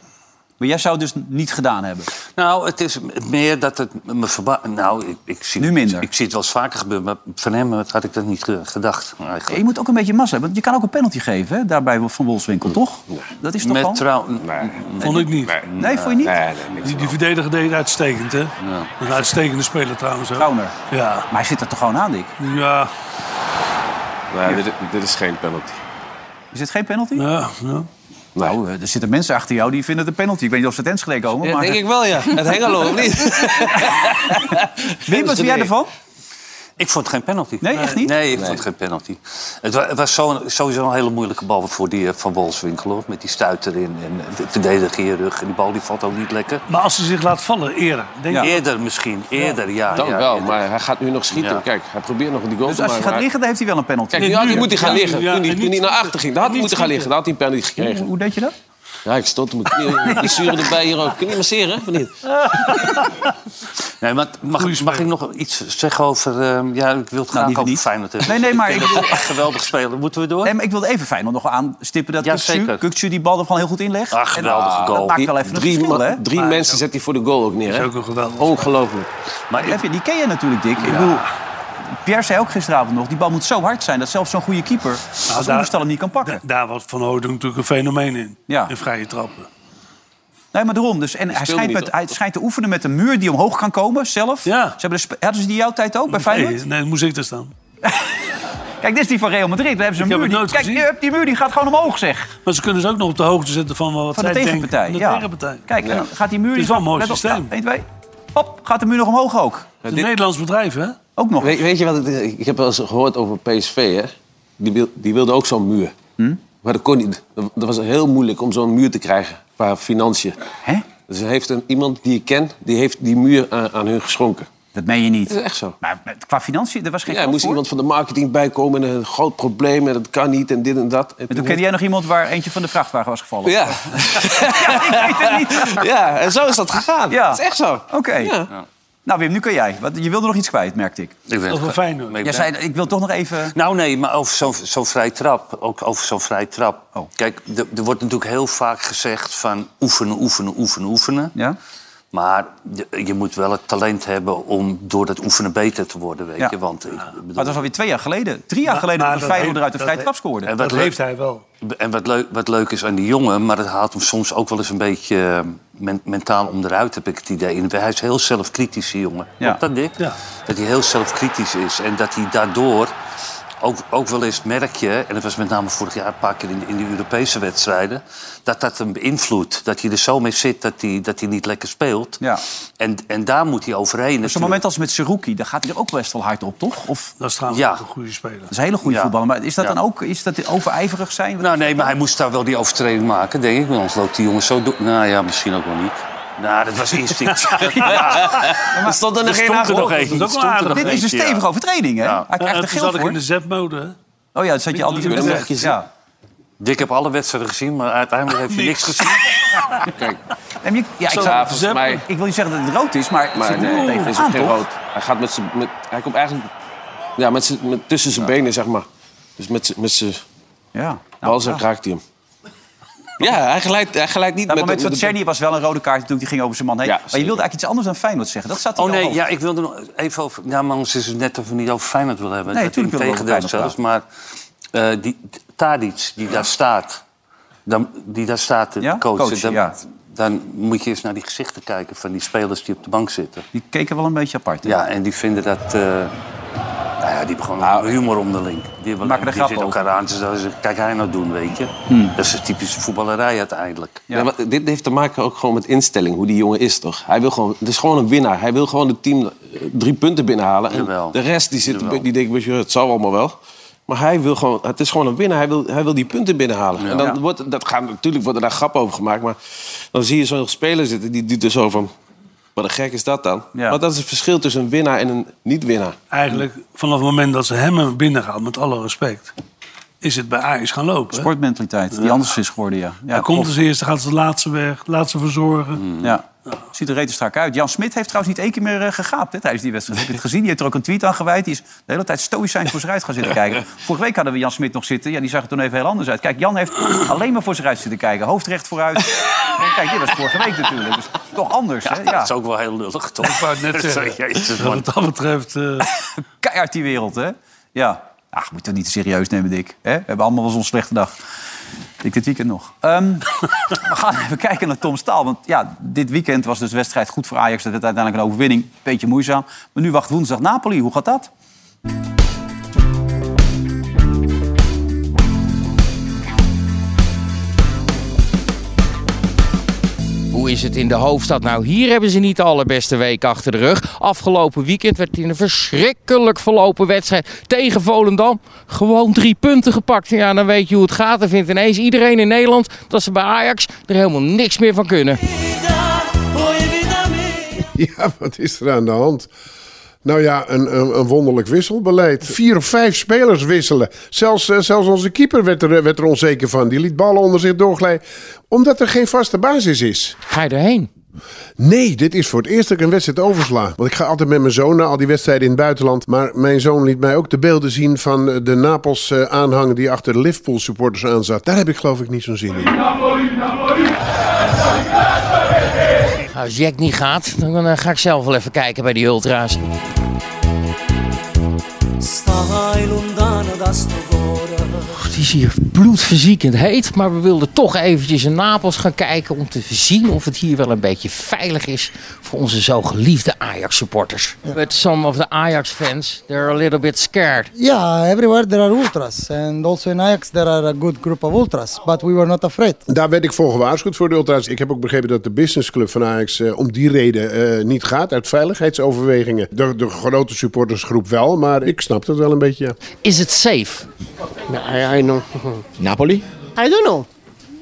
Maar jij zou het dus niet gedaan hebben.
Nou, het is meer dat het me verbaast. Nou, ik, ik zie,
Nu minder.
Ik zie het wel eens vaker gebeuren, maar van hem had ik dat niet ge- gedacht. Eigenlijk.
Je moet ook een beetje massa hebben. Want je kan ook een penalty geven, hè? daarbij van Wolfswinkel, toch? Dat is toch
Met
wel-
trouw.
Vond ik niet.
Nee, vond je niet?
Nee, nee, niks.
Die, die verdediger deed het uitstekend, hè? Een uitstekende speler trouwens. Ook.
Trauner.
Ja,
Maar hij zit er toch gewoon aan, Dick?
ja,
Nee, dit, dit is geen penalty.
Is dit geen penalty?
ja. ja.
Nee.
Oh, eh, er zitten mensen achter jou die vinden het een penalty. Ik weet niet of ze het Enschede komen,
Ja,
maar...
denk ik wel, ja. Het Hengelo, of niet?
Wim, wat vind jij ervan?
Ik vond het geen penalty.
Nee, echt niet?
Nee, ik vond het geen penalty. Het wa- het was zo, sowieso een hele moeilijke bal voor die eh, van Wolfswinkel. hoor. Met die stuit erin en eh, de verdediger in je rug. En die bal die valt ook niet lekker.
Maar als ze zich laat vallen, eerder. Denk ik.
Eerder misschien, eerder, ja.
Dan
Ah, ja,
wel,
eerder.
maar hij gaat nu nog schieten.
Ja.
Kijk, hij probeert nog die goal
Dus
te
als hij
maken.
gaat
maar-
liggen, dan heeft hij wel een penalty.
Kijk, nu
Nee,
had
nu.
hij moeten gaan
Ja,
liggen.
ja,
Toen hij,
en
toen hij
niet
naar achter ging, daar had hij
Niet
moeten gaan
schieten.
liggen. Daar had hij een penalty gekregen.
Hoe deed je dat?
Ja, ik stoot mijn knie. Die zuren erbij hier ook. Kun je masseren of niet?
Nee, maar mag, mag ik nog iets zeggen over... ehm, ja, ik wil het
liever
graag over
Nou, niet.
Feyenoord hebben.
Nee, nee, maar
Ik
ik
vind het
bedoel-
echt geweldig spelen. Moeten we door?
Nee, maar ik wilde even Feyenoord nog aanstippen dat
Ja,
Kukcu,
zeker.
Kukcu die bal er gewoon heel goed inlegt.
Ah, geweldige
en,
goal.
Dat maakt wel even een
drie
verschil,
ma-
hè?
drie mensen zet hij voor de goal ook neer. Hè?
ook een geweldig.
Ongelooflijk.
Maar ik-
Even, die ken je natuurlijk, Dick. Ik bedoel, Pierre zei ook gisteravond nog, die bal moet zo hard zijn... dat zelfs zo'n goede keeper als
Nou, daar-
Oerstal hem niet kan pakken.
Da- daar was Van Hooydonk natuurlijk een fenomeen in.
Ja.
In vrije trappen.
Nee, maar daarom. Dus, en hij
speelde
schijnt,
niet,
met,
toch?
hij schijnt te oefenen met een muur die omhoog kan komen zelf.
Ja.
Ze hebben de spe- hadden ze die jouw tijd ook bij Feyenoord?
Nee, nee, moest ik daar staan.
Kijk, dit is die van Real Madrid. Daar hebben ze een
Ik heb
muur.
het
die-
nooit
Kijk,
gezien.
die, die muur die gaat gewoon omhoog, zeg.
Maar ze kunnen ze ook nog op de hoogte zetten van wat
Van de
zij
tegenpartij.
denken.
ja.
de tegenpartij.
Kijk, en dan gaat die muur...
Het is wel een mooi
Let op,
systeem.
ja, één, twee. Hop, gaat de muur nog omhoog ook.
Het is een Nederlands bedrijf, hè?
Ook nog.
Weet, weet je wat? Het, is? ik heb wel eens gehoord over PSV. Hè? Die, wil, die wilde ook zo'n muur. Maar dat kon niet. Dat, dat was heel moeilijk om zo'n muur te krijgen qua financiën.
Hè?
Dus er heeft een, iemand die ik ken, die heeft die muur aan, aan hun geschonken.
Dat meen je
Dat is
niet.
echt zo.
Maar met- qua financiën, er was geen
Ja, er
geld
moest
voor.
iemand van de marketing bijkomen en een groot probleem en dat kan niet en dit en dat. En
En toen kende jij nog iemand waar eentje van de vrachtwagen was gevallen.
Ja.
ik weet het niet.
ja, en zo is dat gegaan.
Ja.
Dat is echt zo.
Oké.
Ja.
Nou Wim, nu kan jij. Want je wilde nog iets kwijt, merkte ik.
Ik weet
Over
het-
Feyenoord.
maar ik
Jij
ben-
zei, ik wil toch nog even...
Nou nee, maar over zo'n zo'n vrij trap. Ook over zo'n vrij trap.
Oh.
Kijk, er er wordt natuurlijk heel vaak gezegd van oefenen, oefenen, oefenen, oefenen.
Ja?
Maar je- je moet wel het talent hebben om door dat oefenen beter te worden, weet
Ja.
je. Want eh, ik bedoel-
Maar dat was alweer twee jaar geleden. Drie jaar
Maar-
geleden
maar
dat
dat
Feyenoord
heeft-
eruit de
dat
vrije
heeft-
trap scoorde.
En
Dat
wat, leuk,
leeft hij wel.
en wat, leuk, wat leuk is aan die jongen, maar het haalt hem soms ook wel eens een beetje eh, men- mentaal onderuit, heb ik het idee. En hij is heel zelfkritisch, die jongen.
Ja.
Klopt dat, Dick?
Ja.
Dat hij heel zelfkritisch is. En dat hij daardoor ook, ook wel eens merk je... en dat was met name vorig jaar een paar keer in, in de Europese wedstrijden... dat dat hem beïnvloedt. Dat hij er zo mee zit dat hij, dat hij niet lekker speelt.
Ja.
En, en daar moet hij overheen.
Op zo'n moment als met Seruki, daar gaat hij er ook best wel hard op, toch? Of,
Dat is trouwens
Ja.
ook een goede speler.
dat is een hele goede
Ja.
voetballer. Maar is dat
Ja.
dan ook is dat overijverig zijn?
Nou, nee, maar hij moest daar wel die overtreding maken, denk ik. Want anders loopt die jongen zo door. Nou ja, misschien ook wel niet. Nou, dat was instinct.
Er stond er nog
stond
geen
er nog
achter.
één.
Dat is ook wel
Stond er
aardig.
nog
Dit is een
eentje, ja.
stevige overtreding, hè?
Ja.
Hij krijgt er
Eh, toen
geel
zat ik
voor.
in de zetmode, hè?
Oh ja, dat zat je al die
Ja, dat
Ja.
mag je zien.
Ja.
Dick heb alle wedstrijden gezien, maar uiteindelijk heeft hij niks gezien.
Kijk,
En je- ja, ik,
ja,
zou,
volgens mij...
ik wil niet zeggen dat het rood is, maar het
Maar
zit er
nee,
wel
nee,
tegen
is ook
aan,
geen
toch?
rood. Hij gaat met zijn... met- Hij komt eigenlijk... Ja, met zijn- met, tussen zijn benen, zeg maar. Dus met zijn- met zijn
Nou, Ja.
bal zo raakt hij hem. Ja, hij glijdt, hij glijdt niet
Nou,
met...
maar met
de- met de-
Tjerni was wel een rode kaart natuurlijk, die ging over zijn man heen.
Ja,
maar je wilde eigenlijk iets anders dan Feyenoord zeggen. Dat zat hij
Oh
al
nee,
over.
ja, ik wilde nog even over... Ja, maar ons is het net of we niet over Feyenoord willen hebben.
Nee,
Dat
tuurlijk willen we
Integendeel
over Feyenoord
zelfs. Maar eh, die Tadic, die daar staat... Dan, die daar staat, de
Ja?
coach.
Coach,
dan,
ja.
dan moet je eens naar die gezichten kijken van die spelers die op de bank zitten.
Die keken wel een beetje apart. hè?
Ja, en die vinden dat... eh, nou ja, die hebben gewoon humor onderling. Die, hebben,
maken er
die
grap
zitten elkaar aan. Dus dan kijk hij nou doen, weet je. Dat is de typische voetballerij uiteindelijk.
Ja. maar dit heeft te maken ook gewoon met instelling, hoe die jongen is toch? Hij wil gewoon, het is gewoon een winnaar. Hij wil gewoon het team eh, drie punten binnenhalen. En
Jawel.
de rest die, zit, een
Jawel.
be- die denkt, een beetje, het zal allemaal wel. Maar hij wil gewoon, het is gewoon een winnaar. Hij wil, hij wil die punten binnenhalen. En dan
Ja.
wordt, dat gaan, natuurlijk wordt er daar grap over gemaakt. Maar dan zie je zo'n speler zitten die doet er zo van... Wat een gek is dat dan?
Ja.
Maar dat is het verschil tussen een winnaar en een niet-winnaar.
Eigenlijk, vanaf het moment dat ze hem hebben binnengehaald, met alle respect... is het bij Ajax gaan lopen. hè?
Sportmentaliteit, die anders is geworden, ja. ja Mm.
hij komt als eerste, gaat als de laatste weg, laat ze verzorgen.
Mhm. Ja. Ziet er rete strak uit. Jan Smit heeft trouwens niet één keer meer eh, gegaapt hè, tijdens die wedstrijd. Heb je het gezien? Die heeft er ook een tweet aan gewijd. Die is de hele tijd stoïcijns voor zich uit gaan zitten kijken. Vorige week hadden we Jan Smit nog zitten. Ja, die zag er toen even heel anders uit. Kijk, Jan heeft alleen maar voor zich uit zitten kijken. Hoofd recht vooruit. En kijk, dit was vorige week natuurlijk. Dus toch anders, hè?
Dat
Ja.
is ook wel heel lullig, toch?
Ik wou het net zeggen.
Jezus, man.
Dus Wat dat betreft... eh,
Keihard die wereld, hè? Ja. Ach, moet je dat niet serieus nemen, Dick. Hè? We hebben allemaal wel zo'n slechte dag. Ik dit weekend nog. Ehm, we gaan even kijken naar Tom Staal. Want ja, dit weekend was dus de wedstrijd goed voor Ajax. Dat werd uiteindelijk een overwinning. Beetje moeizaam. Maar nu wacht woensdag Napoli. Hoe gaat dat?
Hoe is het in de hoofdstad? Nou, hier hebben ze niet de allerbeste week achter de rug. Afgelopen weekend werd in een verschrikkelijk verlopen wedstrijd tegen Volendam gewoon drie punten gepakt. Ja, dan weet je hoe het gaat. Dan vindt ineens iedereen in Nederland dat ze bij Ajax er helemaal niks meer van kunnen.
Ja, wat is er aan de hand? Nou ja, een, een, een wonderlijk wisselbeleid. Vier of vijf spelers wisselen. Zelfs, eh, zelfs onze keeper werd er, eh, werd er onzeker van. Die liet ballen onder zich doorglijden. Omdat er geen vaste basis is.
Ga je erheen?
Nee, dit is voor het eerst dat ik een wedstrijd oversla. Want ik ga altijd met mijn zoon naar al die wedstrijden in het buitenland. Maar mijn zoon liet mij ook de beelden zien van eh, de Napels-aanhang die achter de Liverpool-supporters aan zat. Daar heb ik geloof ik niet zo'n zin in.
Als Jack niet gaat, dan eh, ga ik zelf wel even kijken bij die ultra's. Het is hier bloedverziekend heet, maar we wilden toch eventjes in Napels gaan kijken om te zien of het hier wel een beetje veilig is voor onze zo geliefde Ajax-supporters. But some of the Ajax-fans, they're a little bit scared.
Yeah, everywhere there are ultras, and also in Ajax there are a good group of ultras, but we were not afraid.
Daar werd ik voor gewaarschuwd voor de ultra's. Ik heb ook begrepen dat de businessclub van Ajax eh, om die reden eh, niet gaat. Uit veiligheidsoverwegingen. De, de grote supportersgroep wel, maar ik snap dat wel een beetje. ja.
Is it safe?
I, I know.
Napoli?
I don't know.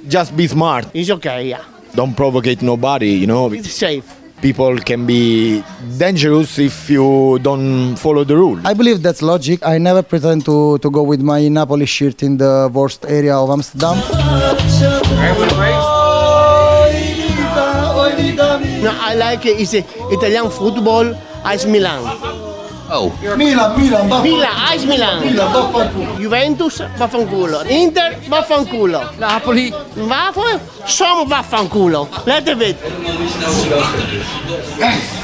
Just be smart.
It's okay, yeah.
Don't provocate nobody, you know.
It's safe.
People can be dangerous if you don't follow the rule.
I believe that's logic. I never pretend to, to go with my Napoli shirt in the worst area of Amsterdam.
No, I like it. It's a Italian football, AS Milan.
Oh.
Milan, Milan, vaffanculo.
Milan, AS Milan.
Milan, vaffanculo.
Juventus, vaffanculo. Inter, vaffanculo.
Napoli.
Waffen, some vaffanculo. Let a bit.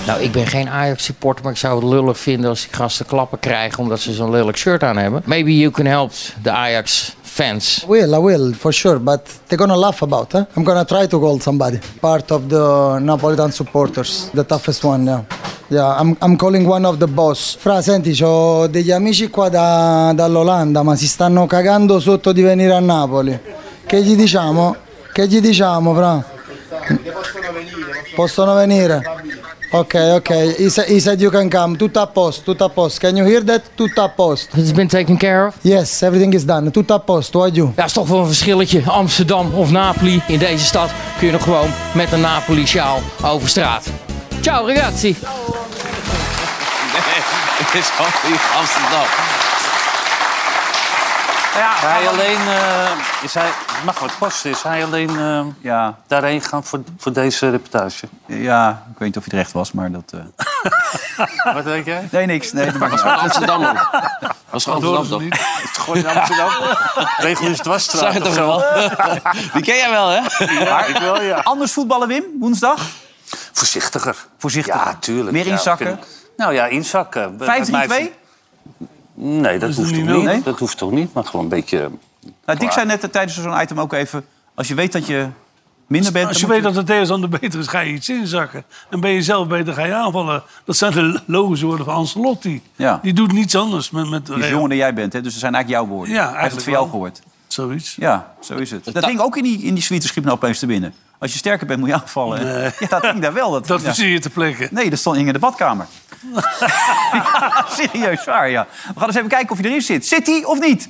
Nou, ik ben geen Ajax-supporter, maar ik zou het lullig vinden als die gasten klappen krijgen omdat ze zo'n lelijk shirt aan hebben. Maybe you can help the Ajax-fans.
Will, I will, for sure, but they're gonna laugh about it. I'm gonna try to hold somebody. Part of the Napolitan supporters, the toughest one, yeah. Yeah, I'm, I'm calling one of the boss. Fra, senti, ho degli amici qua da- dall'Olanda, ma si stanno cagando sotto di venire a Napoli. Che gli diciamo? Che gli diciamo, Fra? Possono venire? Ok, ok, he, sa- he said you can come. Tutto a posto, tutto a posto. Can you hear that? Tutto a posto.
It's been taken care of?
Yes, everything is done. Tutto a posto, what you?
Ja, is toch wel een verschilletje. Amsterdam of Napoli. In deze stad kun je nog gewoon met een Napoli-sjaal over straat. Ciao ragazzi.
Nee, het is al niet Amsterdam.
Ja,
hij alleen, eh, is hij, het mag wat kosten. Is hij alleen eh, daarheen gaan voor, voor deze reportage?
Ja, ik weet niet of je terecht was, maar dat... eh,
Wat denk jij?
Nee, niks. Nee, dat maakt niet
Dat
uit.
is gewoon Amsterdam, hoor.
Dat is
gewoon Amsterdam,
toch?
Het gooit Amsterdam. Regel is dwarsstraat.
Zag het toch
of zo.
Die ken jij wel, hè?
Maar Anders voetballen, Wim, woensdag?
Voorzichtiger.
Voorzichtiger.
Ja, tuurlijk.
Meer
Ja,
inzakken?
vind ik- nou ja, inzakken. Bij- bij mij-
5-3-2?
Nee, dat
Is
hoeft
het
toch
niet
niet.
nodig? Nee?
Dat hoeft toch niet, maar gewoon een beetje...
Nou, Dick zei net eh, tijdens zo'n item ook even... als je weet dat je minder bent...
Als je
dan
weet
moet
dat de tegenstander beter is, ga je iets inzakken. En ben je zelf beter, ga je aanvallen. Dat zijn de logische woorden van Ancelotti.
Ja.
Die doet niets anders met, met
Die is jonger dan jij bent, hè? dus dat zijn eigenlijk jouw woorden.
Ja,
Hij heeft het van jou gehoord.
Zoiets.
Ja, zo is het. Dat ding ook in die, in die suite schiep nou opeens te binnen. Als je sterker bent, moet je aanvallen. hè? Ja, dat ding daar wel. Dat,
Dat
ja.
zie je te plekken.
Nee, dat stond Inge in de badkamer. ja, serieus, waar, ja. We gaan eens even kijken of hij erin zit. Zit hij of niet?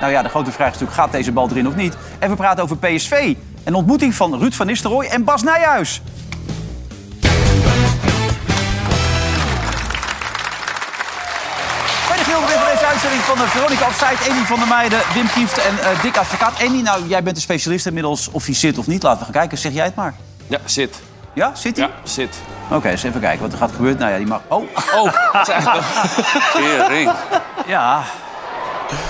nou ja, de grote vraag is natuurlijk, gaat deze bal erin of niet? En we praten over PSV. En de ontmoeting van Ruud van Nistelrooy en Bas Nijhuis. Bij de geel weer van deze uitzending van eh, Veronica Offside. Andy van der Meijden, Wim Kieft en eh Dick Advocaat. Andy, nou, jij bent een specialist inmiddels. Of hij zit of niet, laten we gaan kijken. Zeg jij het maar.
Ja, zit.
Ja, zit hij?
Zit.
Oké, eens even kijken wat er gaat gebeuren. Nou ja, die mag... Oh,
Oh, dat is eigenlijk
eh, ring.
ja.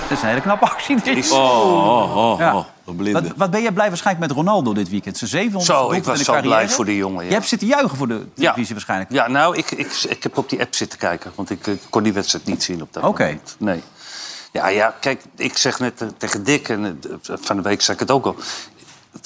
Dat is een hele knappe actie. dit.
Oh, oh, oh,
Ja.
oh. Een blinde.
Wat, wat ben jij blij waarschijnlijk met Ronaldo dit weekend? Zijn 700
Zo, ik was zo blij voor die jongen. Ja.
Je hebt zitten juichen voor de televisie waarschijnlijk.
Ja, nou, ik, ik, ik heb op die app zitten kijken. Want ik eh, kon die wedstrijd niet zien op dat
Oké.
moment. Nee. Ja, ja, kijk, ik zeg net eh, tegen Dick... en eh, van de week zei ik het ook al...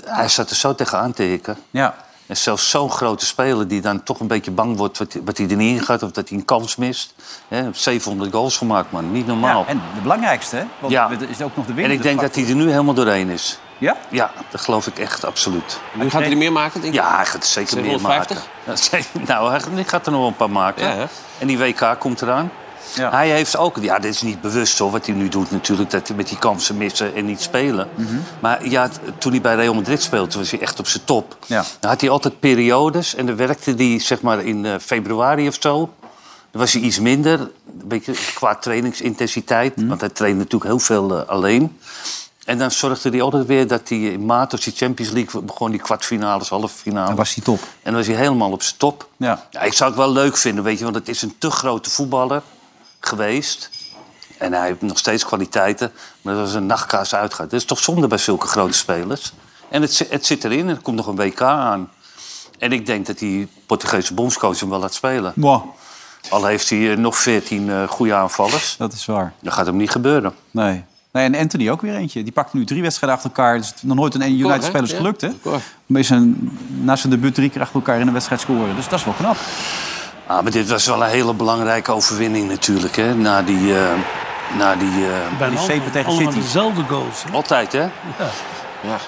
Hij zat er zo tegenaan te hikken.
Ja.
En zelfs zo'n grote speler die dan toch een beetje bang wordt... wat, wat hij er niet in gaat of dat hij een kans mist. Hè, 700 goals gemaakt, man. Niet normaal.
Ja, en de belangrijkste, hè? Want
Ja.
er is ook nog de winnaar.
en ik denk dat hij er nu helemaal doorheen is.
Ja?
Ja, dat geloof ik echt, absoluut.
Nu gaat hij er meer maken, denk je?
Ja, hij gaat er zeker meer
750?
maken. Ja, zeker. Nou, hij gaat- hij gaat er nog wel een paar maken.
Ja, hè?
en die WK komt eraan. Hij heeft ook, ja, dit is niet bewust hoor, wat hij nu doet natuurlijk, dat hij met die kansen missen en niet spelen.
Mhm.
Maar ja, t- toen hij bij Real Madrid speelde, toen was hij echt op zijn top.
Ja.
Dan had hij altijd periodes en dan werkte hij zeg maar in eh, februari of zo. Dan was hij iets minder, een beetje qua trainingsintensiteit. Want hij trainde natuurlijk heel veel eh, alleen. En dan zorgde hij altijd weer dat hij in maart als die Champions League begon, die kwartfinales, halve finale. Dan was
hij top.
En dan was hij helemaal op zijn top.
Ja.
Ja, ik zou het wel leuk vinden, weet je, want het is een te grote voetballer geweest. En hij heeft nog steeds kwaliteiten, maar dat was een nachtkaas uitgaat. Dat is toch zonde bij zulke grote spelers. En het, zi- het zit erin en er komt nog een WK aan. En ik denk dat die Portugese bondscoach hem wel laat spelen.
Wow.
Al heeft hij eh, nog 14 eh, goede aanvallers.
Dat is waar.
Dat gaat hem niet gebeuren.
Nee. nee. En Anthony ook weer eentje. Die pakt nu drie wedstrijden achter elkaar. Dus het is nog nooit een
Record, hè?
United-spelers
Ja.
gelukt, hè? Maar is een, na zijn debuut drie keer achter elkaar in een wedstrijd scoren. Dus dat is wel knap.
Ah, maar dit was wel een hele belangrijke overwinning natuurlijk, hè? Na die... eh, na die, eh,
Bijna Die zeven tegen allemaal City.
dezelfde goals.
Altijd, hè?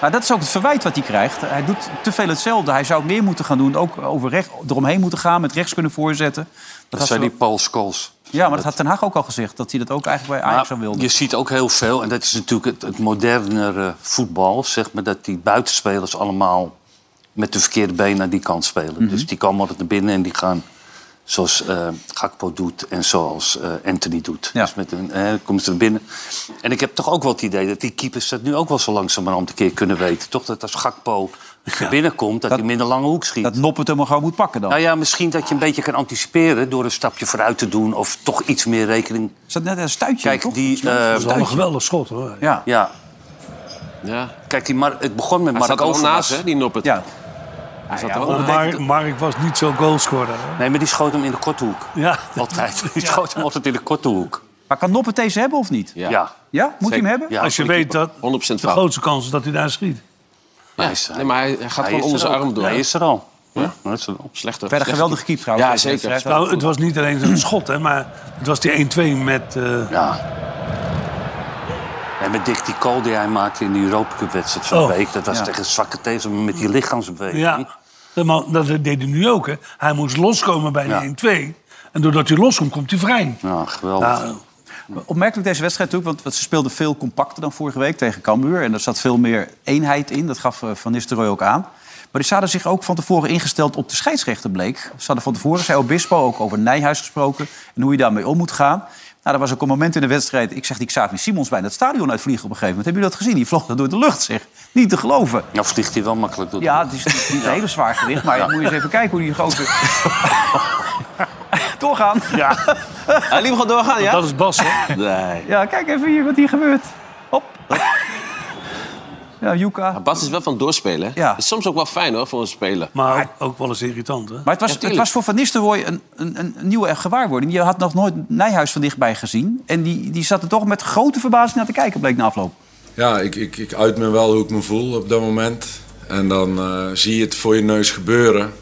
Maar dat is ook het verwijt wat hij krijgt. Hij doet te veel hetzelfde. Hij zou ook meer moeten gaan doen. Ook over recht, eromheen moeten gaan, met rechts kunnen voorzetten.
Dat,
had
zijn
ze-
die Paul Scholes.
Ja, maar dat had Ten Hag ook al gezegd. Dat hij dat ook eigenlijk bij Ajax zou wilde.
Je ziet ook heel veel, en dat is natuurlijk het, het modernere voetbal, zeg maar, dat die buitenspelers allemaal met de verkeerde been naar die kant spelen.
Mhm.
Dus die komen altijd naar binnen en die gaan zoals eh Gakpo doet en zoals eh, Anthony doet. Dus met een, eh, komen ze naar binnen. En ik heb toch ook wel het idee dat die keepers dat nu ook wel zo langzamerhand een keer kunnen weten. Toch dat als Gakpo binnenkomt, dat, hij minder lange hoek schiet.
Dat Noppert hem maar gewoon moet pakken dan.
Nou ja, misschien dat je een beetje kan anticiperen door een stapje vooruit te doen of toch iets meer rekening.
Is dat net een stuitje?
Kijk, die. eh,
Dat is wel een geweldig schot, hoor.
Ja.
ja.
Ja.
Kijk, die Mar- het begon met
Hij
Mark
zat er wel naast,
Overmars.
hè, die Noppert.
Ja.
Hij zat
ja,
er wel
maar
naast.
Mark-
Mark was niet zo'n goalscorer.
Nee, maar die schoot hem in de korte hoek.
Ja.
Altijd. Die schoot hem altijd in de korte hoek.
Maar kan Noppert deze hebben of niet?
Ja.
Ja? Moet hij hem hebben?
Als je weet dat
100%
de
fout.
grootste kans is dat hij daar schiet.
Ja, nee, maar hij, hij gaat
hij
gewoon
is
onder
er
zijn
ook.
arm door.
Hij
is er al.
Ja.
Dat is er al.
Slechter.
Verder
slechter
geweldig
keeper.
gekiept trouwens.
Ja,
deze
zeker.
wedstrijd.
Nou, het was niet alleen een schot, hè, maar het was die 1-2 met... eh,
En met Dick die call die hij maakte in de Europa Cup wedstrijd van
Oh.
de week. Dat was
Ja.
tegen zwakke tegen met die lichaamsbeweging.
Ja, dat ma- dat deed hij nu ook. Hè. Hij moest loskomen bij
Ja.
die 1-2. En doordat hij loskomt, komt hij vrij.
Ja, geweldig.
Nou,
Opmerkelijk deze wedstrijd natuurlijk, want- want ze speelden veel compacter dan vorige week tegen Cambuur. En er zat veel meer eenheid in, dat gaf eh, Van Nistelrooy ook aan. Maar die hadden zich ook van tevoren ingesteld op de scheidsrechter, bleek. Ze hadden van tevoren, zei Obispo, ook over Nijhuis gesproken... en hoe je daarmee om moet gaan. Nou, er was ook een moment in de wedstrijd... ik zeg die Xavi Simons bijna het stadion uitvliegen op een gegeven moment. Hebben jullie dat gezien? Die vloog dat door de lucht, zeg. Niet te geloven.
Nou vliegt hij wel makkelijk door. de
Ja,
lucht.
het is niet niet een hele zwaar gewicht, maar
Ja.
moet je eens even kijken hoe die grote... doorgaan. Ja. Hij liep gewoon doorgaan, ja?
Dat is Bas, hè?
Nee.
Ja, kijk even hier wat hier gebeurt. Hop. Ja, Juka.
Bas is wel van doorspelen. hè? Is soms ook wel fijn hoor, voor een speler.
Maar ook, ook wel eens irritant, hè?
Maar het was,
Ja,
het was voor Van Nistelrooy een, een, een nieuwe gewaarwording. Je had nog nooit Nijhuis van dichtbij gezien. En die, die zat er toch met grote verbazing naar te kijken, bleek na afloop.
Ja, ik, ik, ik uit me wel hoe ik me voel op dat moment. En dan eh, zie je het voor je neus gebeuren.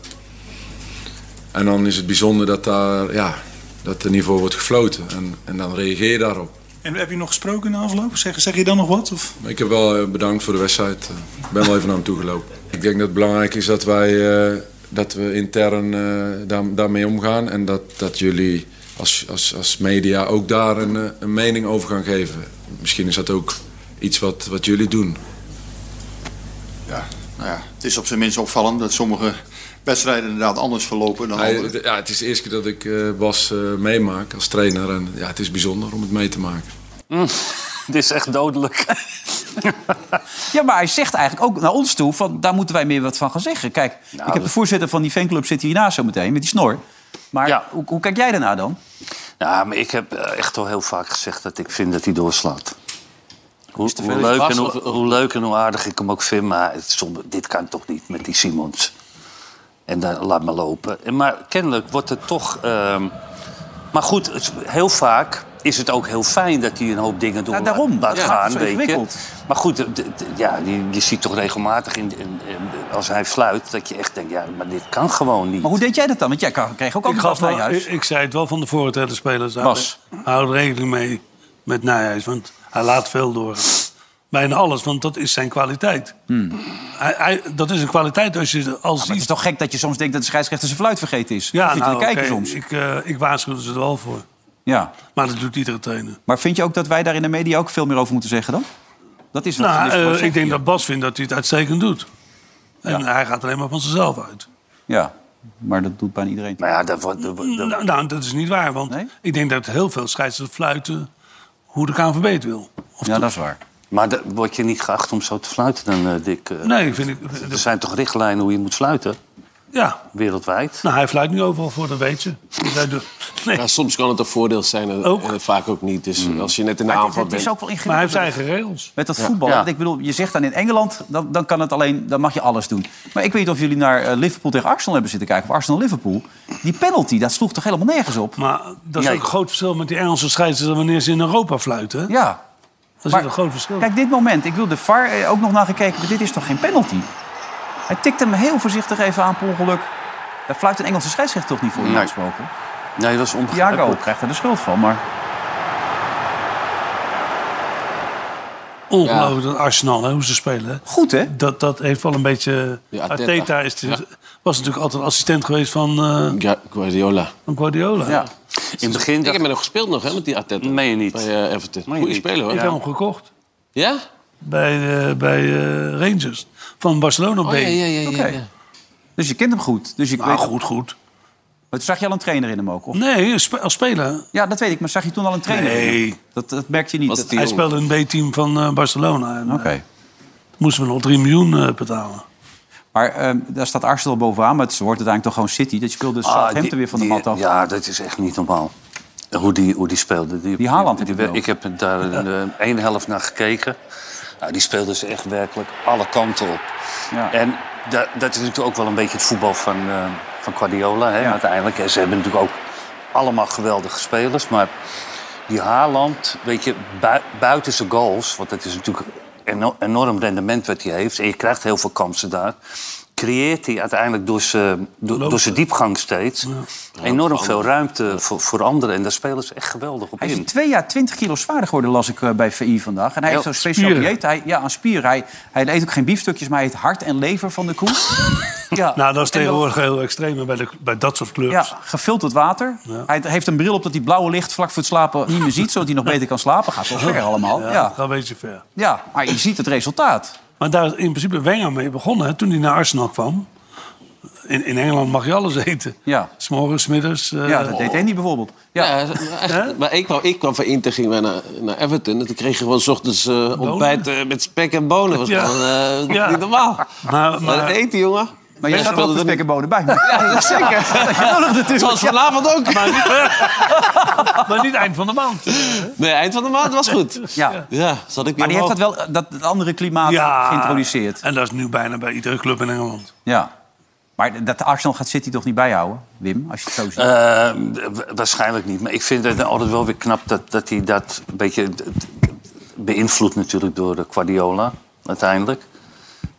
En dan is het bijzonder dat, daar, ja, dat er niveau wordt gefloten. En, en dan reageer je daarop.
En heb je nog gesproken na afloop? Zeg, zeg je dan nog wat? Of?
Ik heb wel eh, bedankt voor de wedstrijd. Ik ben wel even naar hem toe gelopen. Ik denk dat het belangrijk is dat wij eh, dat we intern eh, daar, daarmee omgaan. En dat, dat jullie als, als, als media ook daar een, eh, een mening over gaan geven. Misschien is dat ook iets wat, wat jullie doen.
Ja, nou ja, het is op zijn minst opvallend dat sommige wedstrijden inderdaad anders verlopen dan
Hij-
andere.
d- ja, het is de eerste keer dat ik eh, Bas eh, meemaak als trainer. En ja, het is bijzonder om het mee te maken.
Dit is echt dodelijk.
Ja, maar hij zegt eigenlijk ook naar ons toe... Van, daar moeten wij meer wat van gaan zeggen. Kijk, ik heb de
dat-
voorzitter van die fanclub zit hierna zo meteen... met die snor. Maar hoe, hoe kijk jij daarna dan?
Nou, maar ik heb eh, echt al heel vaak gezegd dat ik vind dat hij doorslaat. Hoe,
veel
hoe
is
leuk,
Bas
en hoe,
of-
hoe leuk en hoe aardig ik hem ook vind, maar het, soms- dit kan toch niet met die Simons. En dan laat maar lopen. En Maar kennelijk wordt het toch. ehm, maar goed, het- heel vaak is het ook heel fijn dat hij een hoop dingen door
Ja, daarom.
laat
Ja, het
gaan.
is zo
weet je.
ingewikkeld.
Maar goed, d- d- ja, je, je ziet toch regelmatig in, in- in- als hij fluit dat je echt denkt: ja, maar dit kan gewoon niet.
Maar hoe deed jij dat dan? Want jij kan- kreeg ook
Ik
altijd
gaf
Bas
wel-
Nijhuis.
Ik, ik zei het wel van de tegen de spelers.
Bas.
Hou, hou er rekening mee met Nijhuis, want hij laat veel door. Bijna alles, want dat is zijn kwaliteit. Hij, hij- dat is een kwaliteit als je... Als
Hmm. Maar het is toch gek dat je soms denkt dat de scheidsrechter zijn fluit vergeten is.
Ja,
Dan zit je
nou,
te kijken
oké,
soms.
Ik, eh ik waarschuwde ze er wel voor.
Ja.
Maar dat doet iedere trainer.
Maar vind je ook dat wij daar in de media ook veel meer over moeten zeggen dan? Dat is wat
Nou,
Van Nistelrooy
eh,
zegt
ik denk
hier.
dat Bas vindt dat hij het uitstekend doet. En hij gaat alleen maar van zichzelf uit.
Ja, maar dat doet bijna iedereen.
Maar ja, dat wordt...
Nou, nou, dat is niet waar, want ik denk dat heel veel scheidsrechters fluiten hoe de KNVB het wil.
ja, dat is waar.
Maar da- word je niet geacht om zo te fluiten dan, eh Dick? eh?
Nee, vind ik...
Er zijn toch richtlijnen hoe je moet fluiten?
Ja.
Wereldwijd?
Nou, hij fluit nu overal voor, dat weet je. Dus hij doet-
Ja, soms kan het een voordeel zijn, eh,
Ook.
eh, vaak ook niet. Dus als je net in de
Maar het-
aanval
het is
bent...
ook wel ingewikkeld.
Maar hij heeft zijn eigen regels.
Met dat
Ja.
voetbal.
Ja.
Want Ik bedoel, je zegt dan in Engeland, dan, dan kan het alleen, dan mag je alles doen. Maar ik weet niet of jullie naar eh, Liverpool tegen Arsenal hebben zitten kijken. Of Arsenal-Liverpool. Die penalty, dat sloeg toch helemaal nergens op?
Maar dat is ook een groot verschil met die Engelse scheidsrechters wanneer ze in Europa fluiten. hè?
Ja.
Dat is een groot verschil.
Kijk, dit moment. Ik wil de VAR eh, ook nog naar gekeken. Maar dit is toch geen penalty? Hij tikt hem heel voorzichtig even aan per ongeluk. Daar fluit een Engelse scheidsrechter toch niet voor
Nee.
uitgesproken?
Nee, dat is onbegrijpelijk.
Thiago krijgt er de schuld van, maar...
Ongelooflijk dat Arsenal, hè, hoe ze spelen. hè.
Goed, hè?
Dat, dat heeft wel een beetje...
Ja, Arteta.
Arteta is de-
Ja.
was natuurlijk altijd assistent geweest van, eh,
Ja, Guardiola.
van Guardiola.
Ja.
In
het begin... Ik heb hem nog gespeeld nog, hè, met die Arteta. Nee, niet. Bij eh, Everton. Goeie speler, hoor.
Ik heb hem gekocht
Ja?
bij, eh, bij eh, Rangers. Van Barcelona
Oh,
B.
ja, ja, ja, ja,
Oké.
ja.
Dus je kent hem goed. Dus ik
Ah,
Nou,
weet...
goed, goed.
Maar zag je al een trainer in hem ook? Of?
Nee, spe- als speler.
Ja, dat weet ik. Maar zag je toen al een trainer in hem?
Nee.
Dat, dat merkte je niet. Dat-
Hij speelde in het B-team van eh, Barcelona. Oké. Moesten we nog 3 miljoen eh, betalen.
Maar ehm, daar staat Arsenal bovenaan, maar het wordt uiteindelijk toch gewoon City. Dat speelde
Ah,
Southampton
die-
weer van de
die-
mat af.
Ja, dat is echt niet normaal. Hoe die, hoe die speelde. Die, die Haaland. ik heb daar een, eh, één helft naar gekeken. Nou, die speelde ze echt werkelijk alle kanten op. En da- dat is natuurlijk ook wel een beetje het voetbal van, eh, van Guardiola. Hè, Uiteindelijk. En ze hebben natuurlijk ook allemaal geweldige spelers. Maar die Haaland, weet je, bui- buiten zijn goals... want dat is natuurlijk eno- enorm rendement wat hij heeft... en je krijgt heel veel kansen daar... creëert hij uiteindelijk door zijn door- door zijn diepgang steeds... enorm veel ruimte voor, voor anderen. En daar spelen ze echt geweldig op
Hij is
in.
twee jaar 20 kilo zwaarder geworden, las ik eh, bij VI vandaag. En hij heeft
Ja,
zo'n speciaal
spieren.
dieet. Hij, ja, aan spieren. Hij, hij eet ook geen biefstukjes, maar hij eet hart en lever van de koe. ja.
Nou, dat is
En dan-
tegenwoordig heel extreem hè, bij, de, bij dat soort clubs.
Ja, gefilterd water. Hij heeft een bril op dat hij blauwe licht vlak voor het slapen niet meer ziet... zodat hij nog beter kan slapen. Gaat wel ver allemaal. Ja,
Ja,
ja.
Ga een beetje ver.
maar je ziet het resultaat.
Maar daar is in principe Wenger mee begonnen hè, toen hij naar Arsenal kwam. In, in Engeland mag je alles eten.
Ja.
S'morgens, 's middags. eh,
Ja, dat deed Andy bijvoorbeeld.
Ja, maar echt, maar ik kwam, ik kwam van Inter, gingen wij naar, naar Everton. En toen kreeg je gewoon 's ochtends eh, ontbijt eh, met spek en bonen. was
Ja.
gewoon eh,
Ja.
niet normaal.
Maar,
Maar dat
eh,
maar,
eet die jongen.
Maar jij
Ja,
gaat
speelde
wel de
er
spek en bonen bij. me.
Ja, dat is zeker.
Dat je nodig natuurlijk.
Zoals
Ja.
vanavond ook.
maar, niet, maar niet eind van de maand.
Nee, eind van de maand was goed.
Ja.
Ja, zat ik weer
Maar die heeft dat
omhoog.
wel, eh, dat, dat andere klimaat geïntroduceerd.
En dat is nu bijna bij iedere club in Engeland.
Ja. Maar dat Arsenal gaat City toch niet bijhouden, Wim? Als je het zo ziet.
Eh, wa- waarschijnlijk niet. Maar ik vind het altijd wel weer knap dat, dat hij dat een beetje d- d- beïnvloedt natuurlijk door eh, Guardiola uiteindelijk.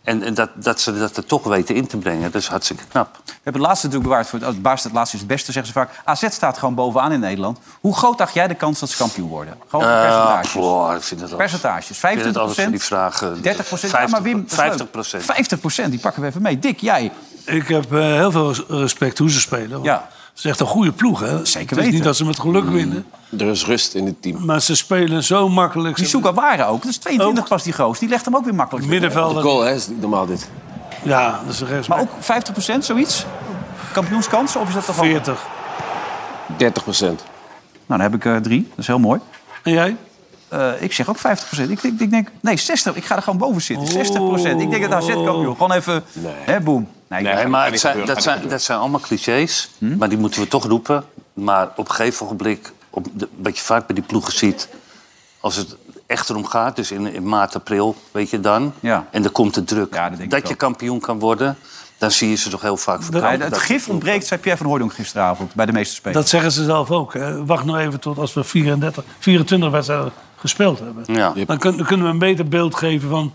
En, en dat, dat ze dat er toch weten in te brengen, dat is hartstikke knap.
We hebben het laatste natuurlijk bewaard voor het, het baas- het laatste is het beste, zeggen ze vaak. AZ staat gewoon bovenaan in Nederland. Hoe groot dacht jij de kans dat ze kampioen worden? Gewoon
Eh,
percentages.
boah, ik vind het al-
percentages.
ik vind
25
het altijd van die vragen.
30 procent.
50,
maar Wim, dat is leuk.
50 procent.
50 die pakken we even mee. Dik, jij.
Ik heb eh, heel veel res- respect hoe ze spelen. want
Ja.
Het is echt een goede ploeg. Hè? Zeker Het is
weten. Mm.
niet dat ze met geluk winnen.
Er is rust in het team.
Maar ze spelen zo makkelijk.
Die zoeken waren ook. Dus 22 pas die goos. Die legt hem ook weer makkelijk. weg.
De
Middenvelder.
goal hè, is niet normaal dit.
Ja, dat is een
Maar ook 50 zoiets? Kampioenskansen? Of is dat toch wel-
40.
30 procent.
Nou, dan heb ik eh, drie. Dat is heel mooi.
En jij?
Eh, ik zeg ook 50 Ik, denk- ik denk, nee, 60. Ik ga er gewoon boven zitten. 60 Ik denk dat AZ kampioen. Gewoon even, hè, boom. Nee, ik
Nee,
denk-
maar het zijn, dat, zijn, dat zijn allemaal clichés,
Hm?
maar die moeten we toch roepen. Maar op een gegeven ogenblik, op de- wat je vaak bij die ploegen ziet... als het echt erom gaat, dus in, in maart, april, weet je dan...
Ja.
en dan komt de druk
ik
dat
ook.
je kampioen kan worden... dan zie je ze toch heel vaak
Nee,
verkouden.
het gif ontbreekt, zei Pierre van Hooydonk gisteravond bij de meeste spelers.
Dat zeggen ze zelf ook. Hè? Wacht nou even tot als we 34, 24 wedstrijden gespeeld hebben.
Ja.
Dan, kun- dan kunnen we een beter beeld geven van...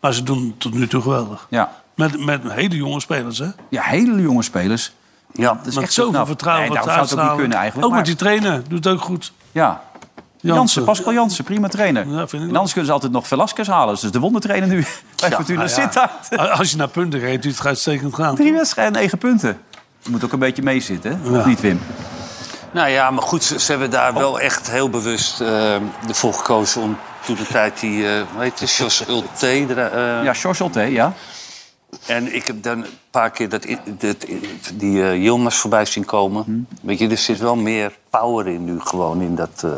Maar ze doen het tot nu toe geweldig.
Ja.
Met, met hele jonge spelers, hè?
ja, hele jonge spelers.
Ja,
dat is
met
echt zo
zoveel
knap.
vertrouwen
Nee,
wat
daarom zou het ook niet kunnen
uitstralen.
eigenlijk.
Ook
maar-
met die trainer. Doet het ook goed.
Ja. Jansen, Pascal Jansen, prima trainer. en anders kunnen ze altijd nog Velasquez halen. Dus de wondertrainer nu bij Fortuna
Nou ja,
zit daar.
Als je naar punten geeft, doet het uitstekend gaan.
Drie wedstrijden, negen punten. Je moet ook een beetje meezitten, hè? of niet Wim?
Nou ja, maar goed, ze, ze hebben
Oh.
daar wel echt heel bewust eh, ervoor gekozen om toen de tijd die, eh hoe heet het, Jos Ulte. eh,
ja, George Ulte, ja.
En ik heb dan een paar keer dat, i- dat i- die eh, Yilmaz voorbij zien komen.
Hmm.
Weet je, er zit wel meer power in nu gewoon in dat... eh,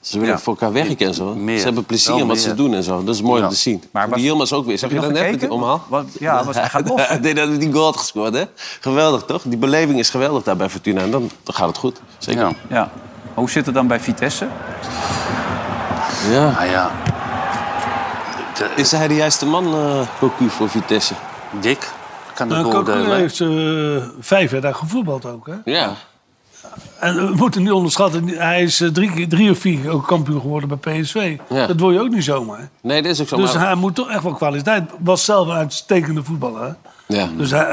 ze willen voor elkaar werken en zo. Ze hebben plezier in wat ze doen en zo. Dat is mooi om te zien. Maar die Yilmaz ook weer. Zag je dat net met die omhaal?
ja, was echt los.
Hij deed dat die goal had gescoord, hè? Geweldig, toch? Die beleving is geweldig daar bij Fortuna. En dan, dan gaat het goed. Zeker. Ja.
Hoe zit het dan bij Vitesse?
Ja.
Ah ja.
Is hij de juiste man, eh Cocu, voor Vitesse?
Dik. Kan
het
Nou, Cocu heeft eh, vijf jaar daar gevoetbald ook, hè?
Ja.
En eh, we moeten niet onderschatten, hij is eh, drie, keer- drie of vier keer ook kampioen geworden bij PSV.
Ja.
Dat word je ook niet zomaar.
Nee, dat is ook zo.
Dus
maar-
hij moet toch echt wel kwaliteit. Was zelf een uitstekende voetballer. hè?
Ja.
Dus hij,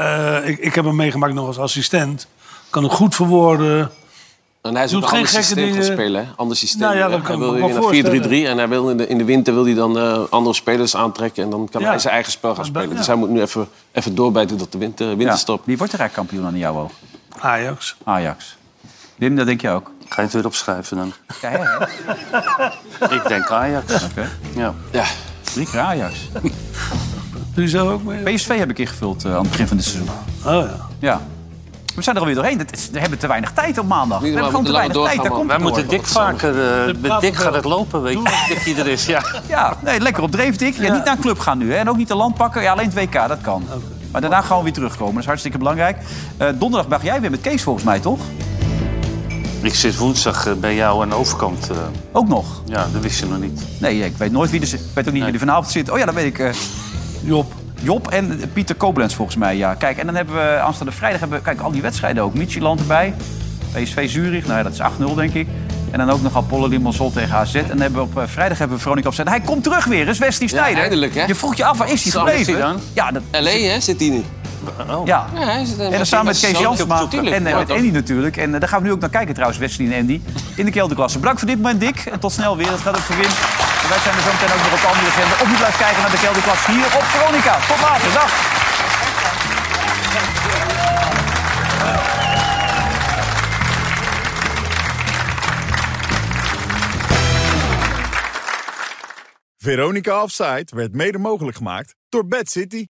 eh, ik, ik heb hem meegemaakt nog als assistent. Kan hem goed verwoorden.
En hij is
Doet
ook een ander
geen gekke
systeem gaan
dingen.
spelen. hè? Ander systeem.
Nou ja, dat kan
hij
ik
wil
me wel
weer naar 4-3-3 en hij wil in, de, in de winter wil hij dan eh, andere spelers aantrekken. En dan kan
Ja.
hij zijn eigen spel gaan spelen. Dus hij moet nu even, even doorbijten tot de winter, winterstop.
Wie wordt er eigenlijk kampioen aan jouw oog?
Ajax.
Ajax. Dim, dat denk je ook?
Ga je het weer opschrijven dan?
Ja, ja, ja.
Ik denk Ajax. Ja.
ja.
Drie keer Ajax.
Doe je zelf ook mee?
PSV heb ik ingevuld eh, aan het begin van dit seizoen.
Oh ja.
Ja. We zijn er alweer doorheen. Dat is- we hebben te weinig tijd op maandag. We hebben gewoon te weinig tijd. Daar komt
Wij
het
moeten
door.
Dick vaker... eh met Dick gaat het lopen, weet je. Dick die er is, ja.
Ja, nee, lekker op dreef, Dick. Ja, Niet naar een club gaan nu. Hè. En ook niet de land pakken. Ja, alleen het WK, dat kan. Maar daarna gewoon weer terugkomen. Dat is hartstikke belangrijk. Eh, donderdag mag jij weer met Kees volgens mij, toch?
Ik zit woensdag eh, bij jou aan de overkant. eh.
Ook nog?
Ja, dat wist je nog niet.
Nee, ik weet nooit wie er zit. Ik weet ook niet wie er vanavond zit. Oh ja, dat weet ik. eh,
Job.
Job en eh, Pieter Koblenz volgens mij, ja. Kijk, en dan hebben we aanstaande vrijdag hebben we, kijk, al die wedstrijden ook. Michieland erbij, PSV Zurich, nou ja, dat is 8-0 denk ik. En dan ook nog Apollo Limassol tegen AZ. En dan hebben we op eh, vrijdag hebben we Veronica opzet. Hij komt terug weer, is Wesley Sneijder.
eindelijk, hè?
Je vroeg je af, waar is hij
Zo, waar is
gebleven?
hij dan? E?
Ja, dat... eh,
LA, hè, zit hij nu?
Ja.
Ja, hij zit-
en
hij
dan samen met
zit-
Kees
zo-
Jansma
Tuurlijk.
en eh,
Ja,
met
toch?
Andy natuurlijk. En eh, daar gaan we nu ook naar kijken trouwens, Wesley en Andy. In de kelderklasse. Bedankt voor dit moment, Dick. En tot snel weer. Dat gaat ook voor Wim. En wij zijn er zo meteen ook nog op de andere agenda. Of je blijft kijken naar de kelderklasse hier op Veronica. Tot later. Dag.
Veronica Offside werd mede mogelijk gemaakt door Bad City.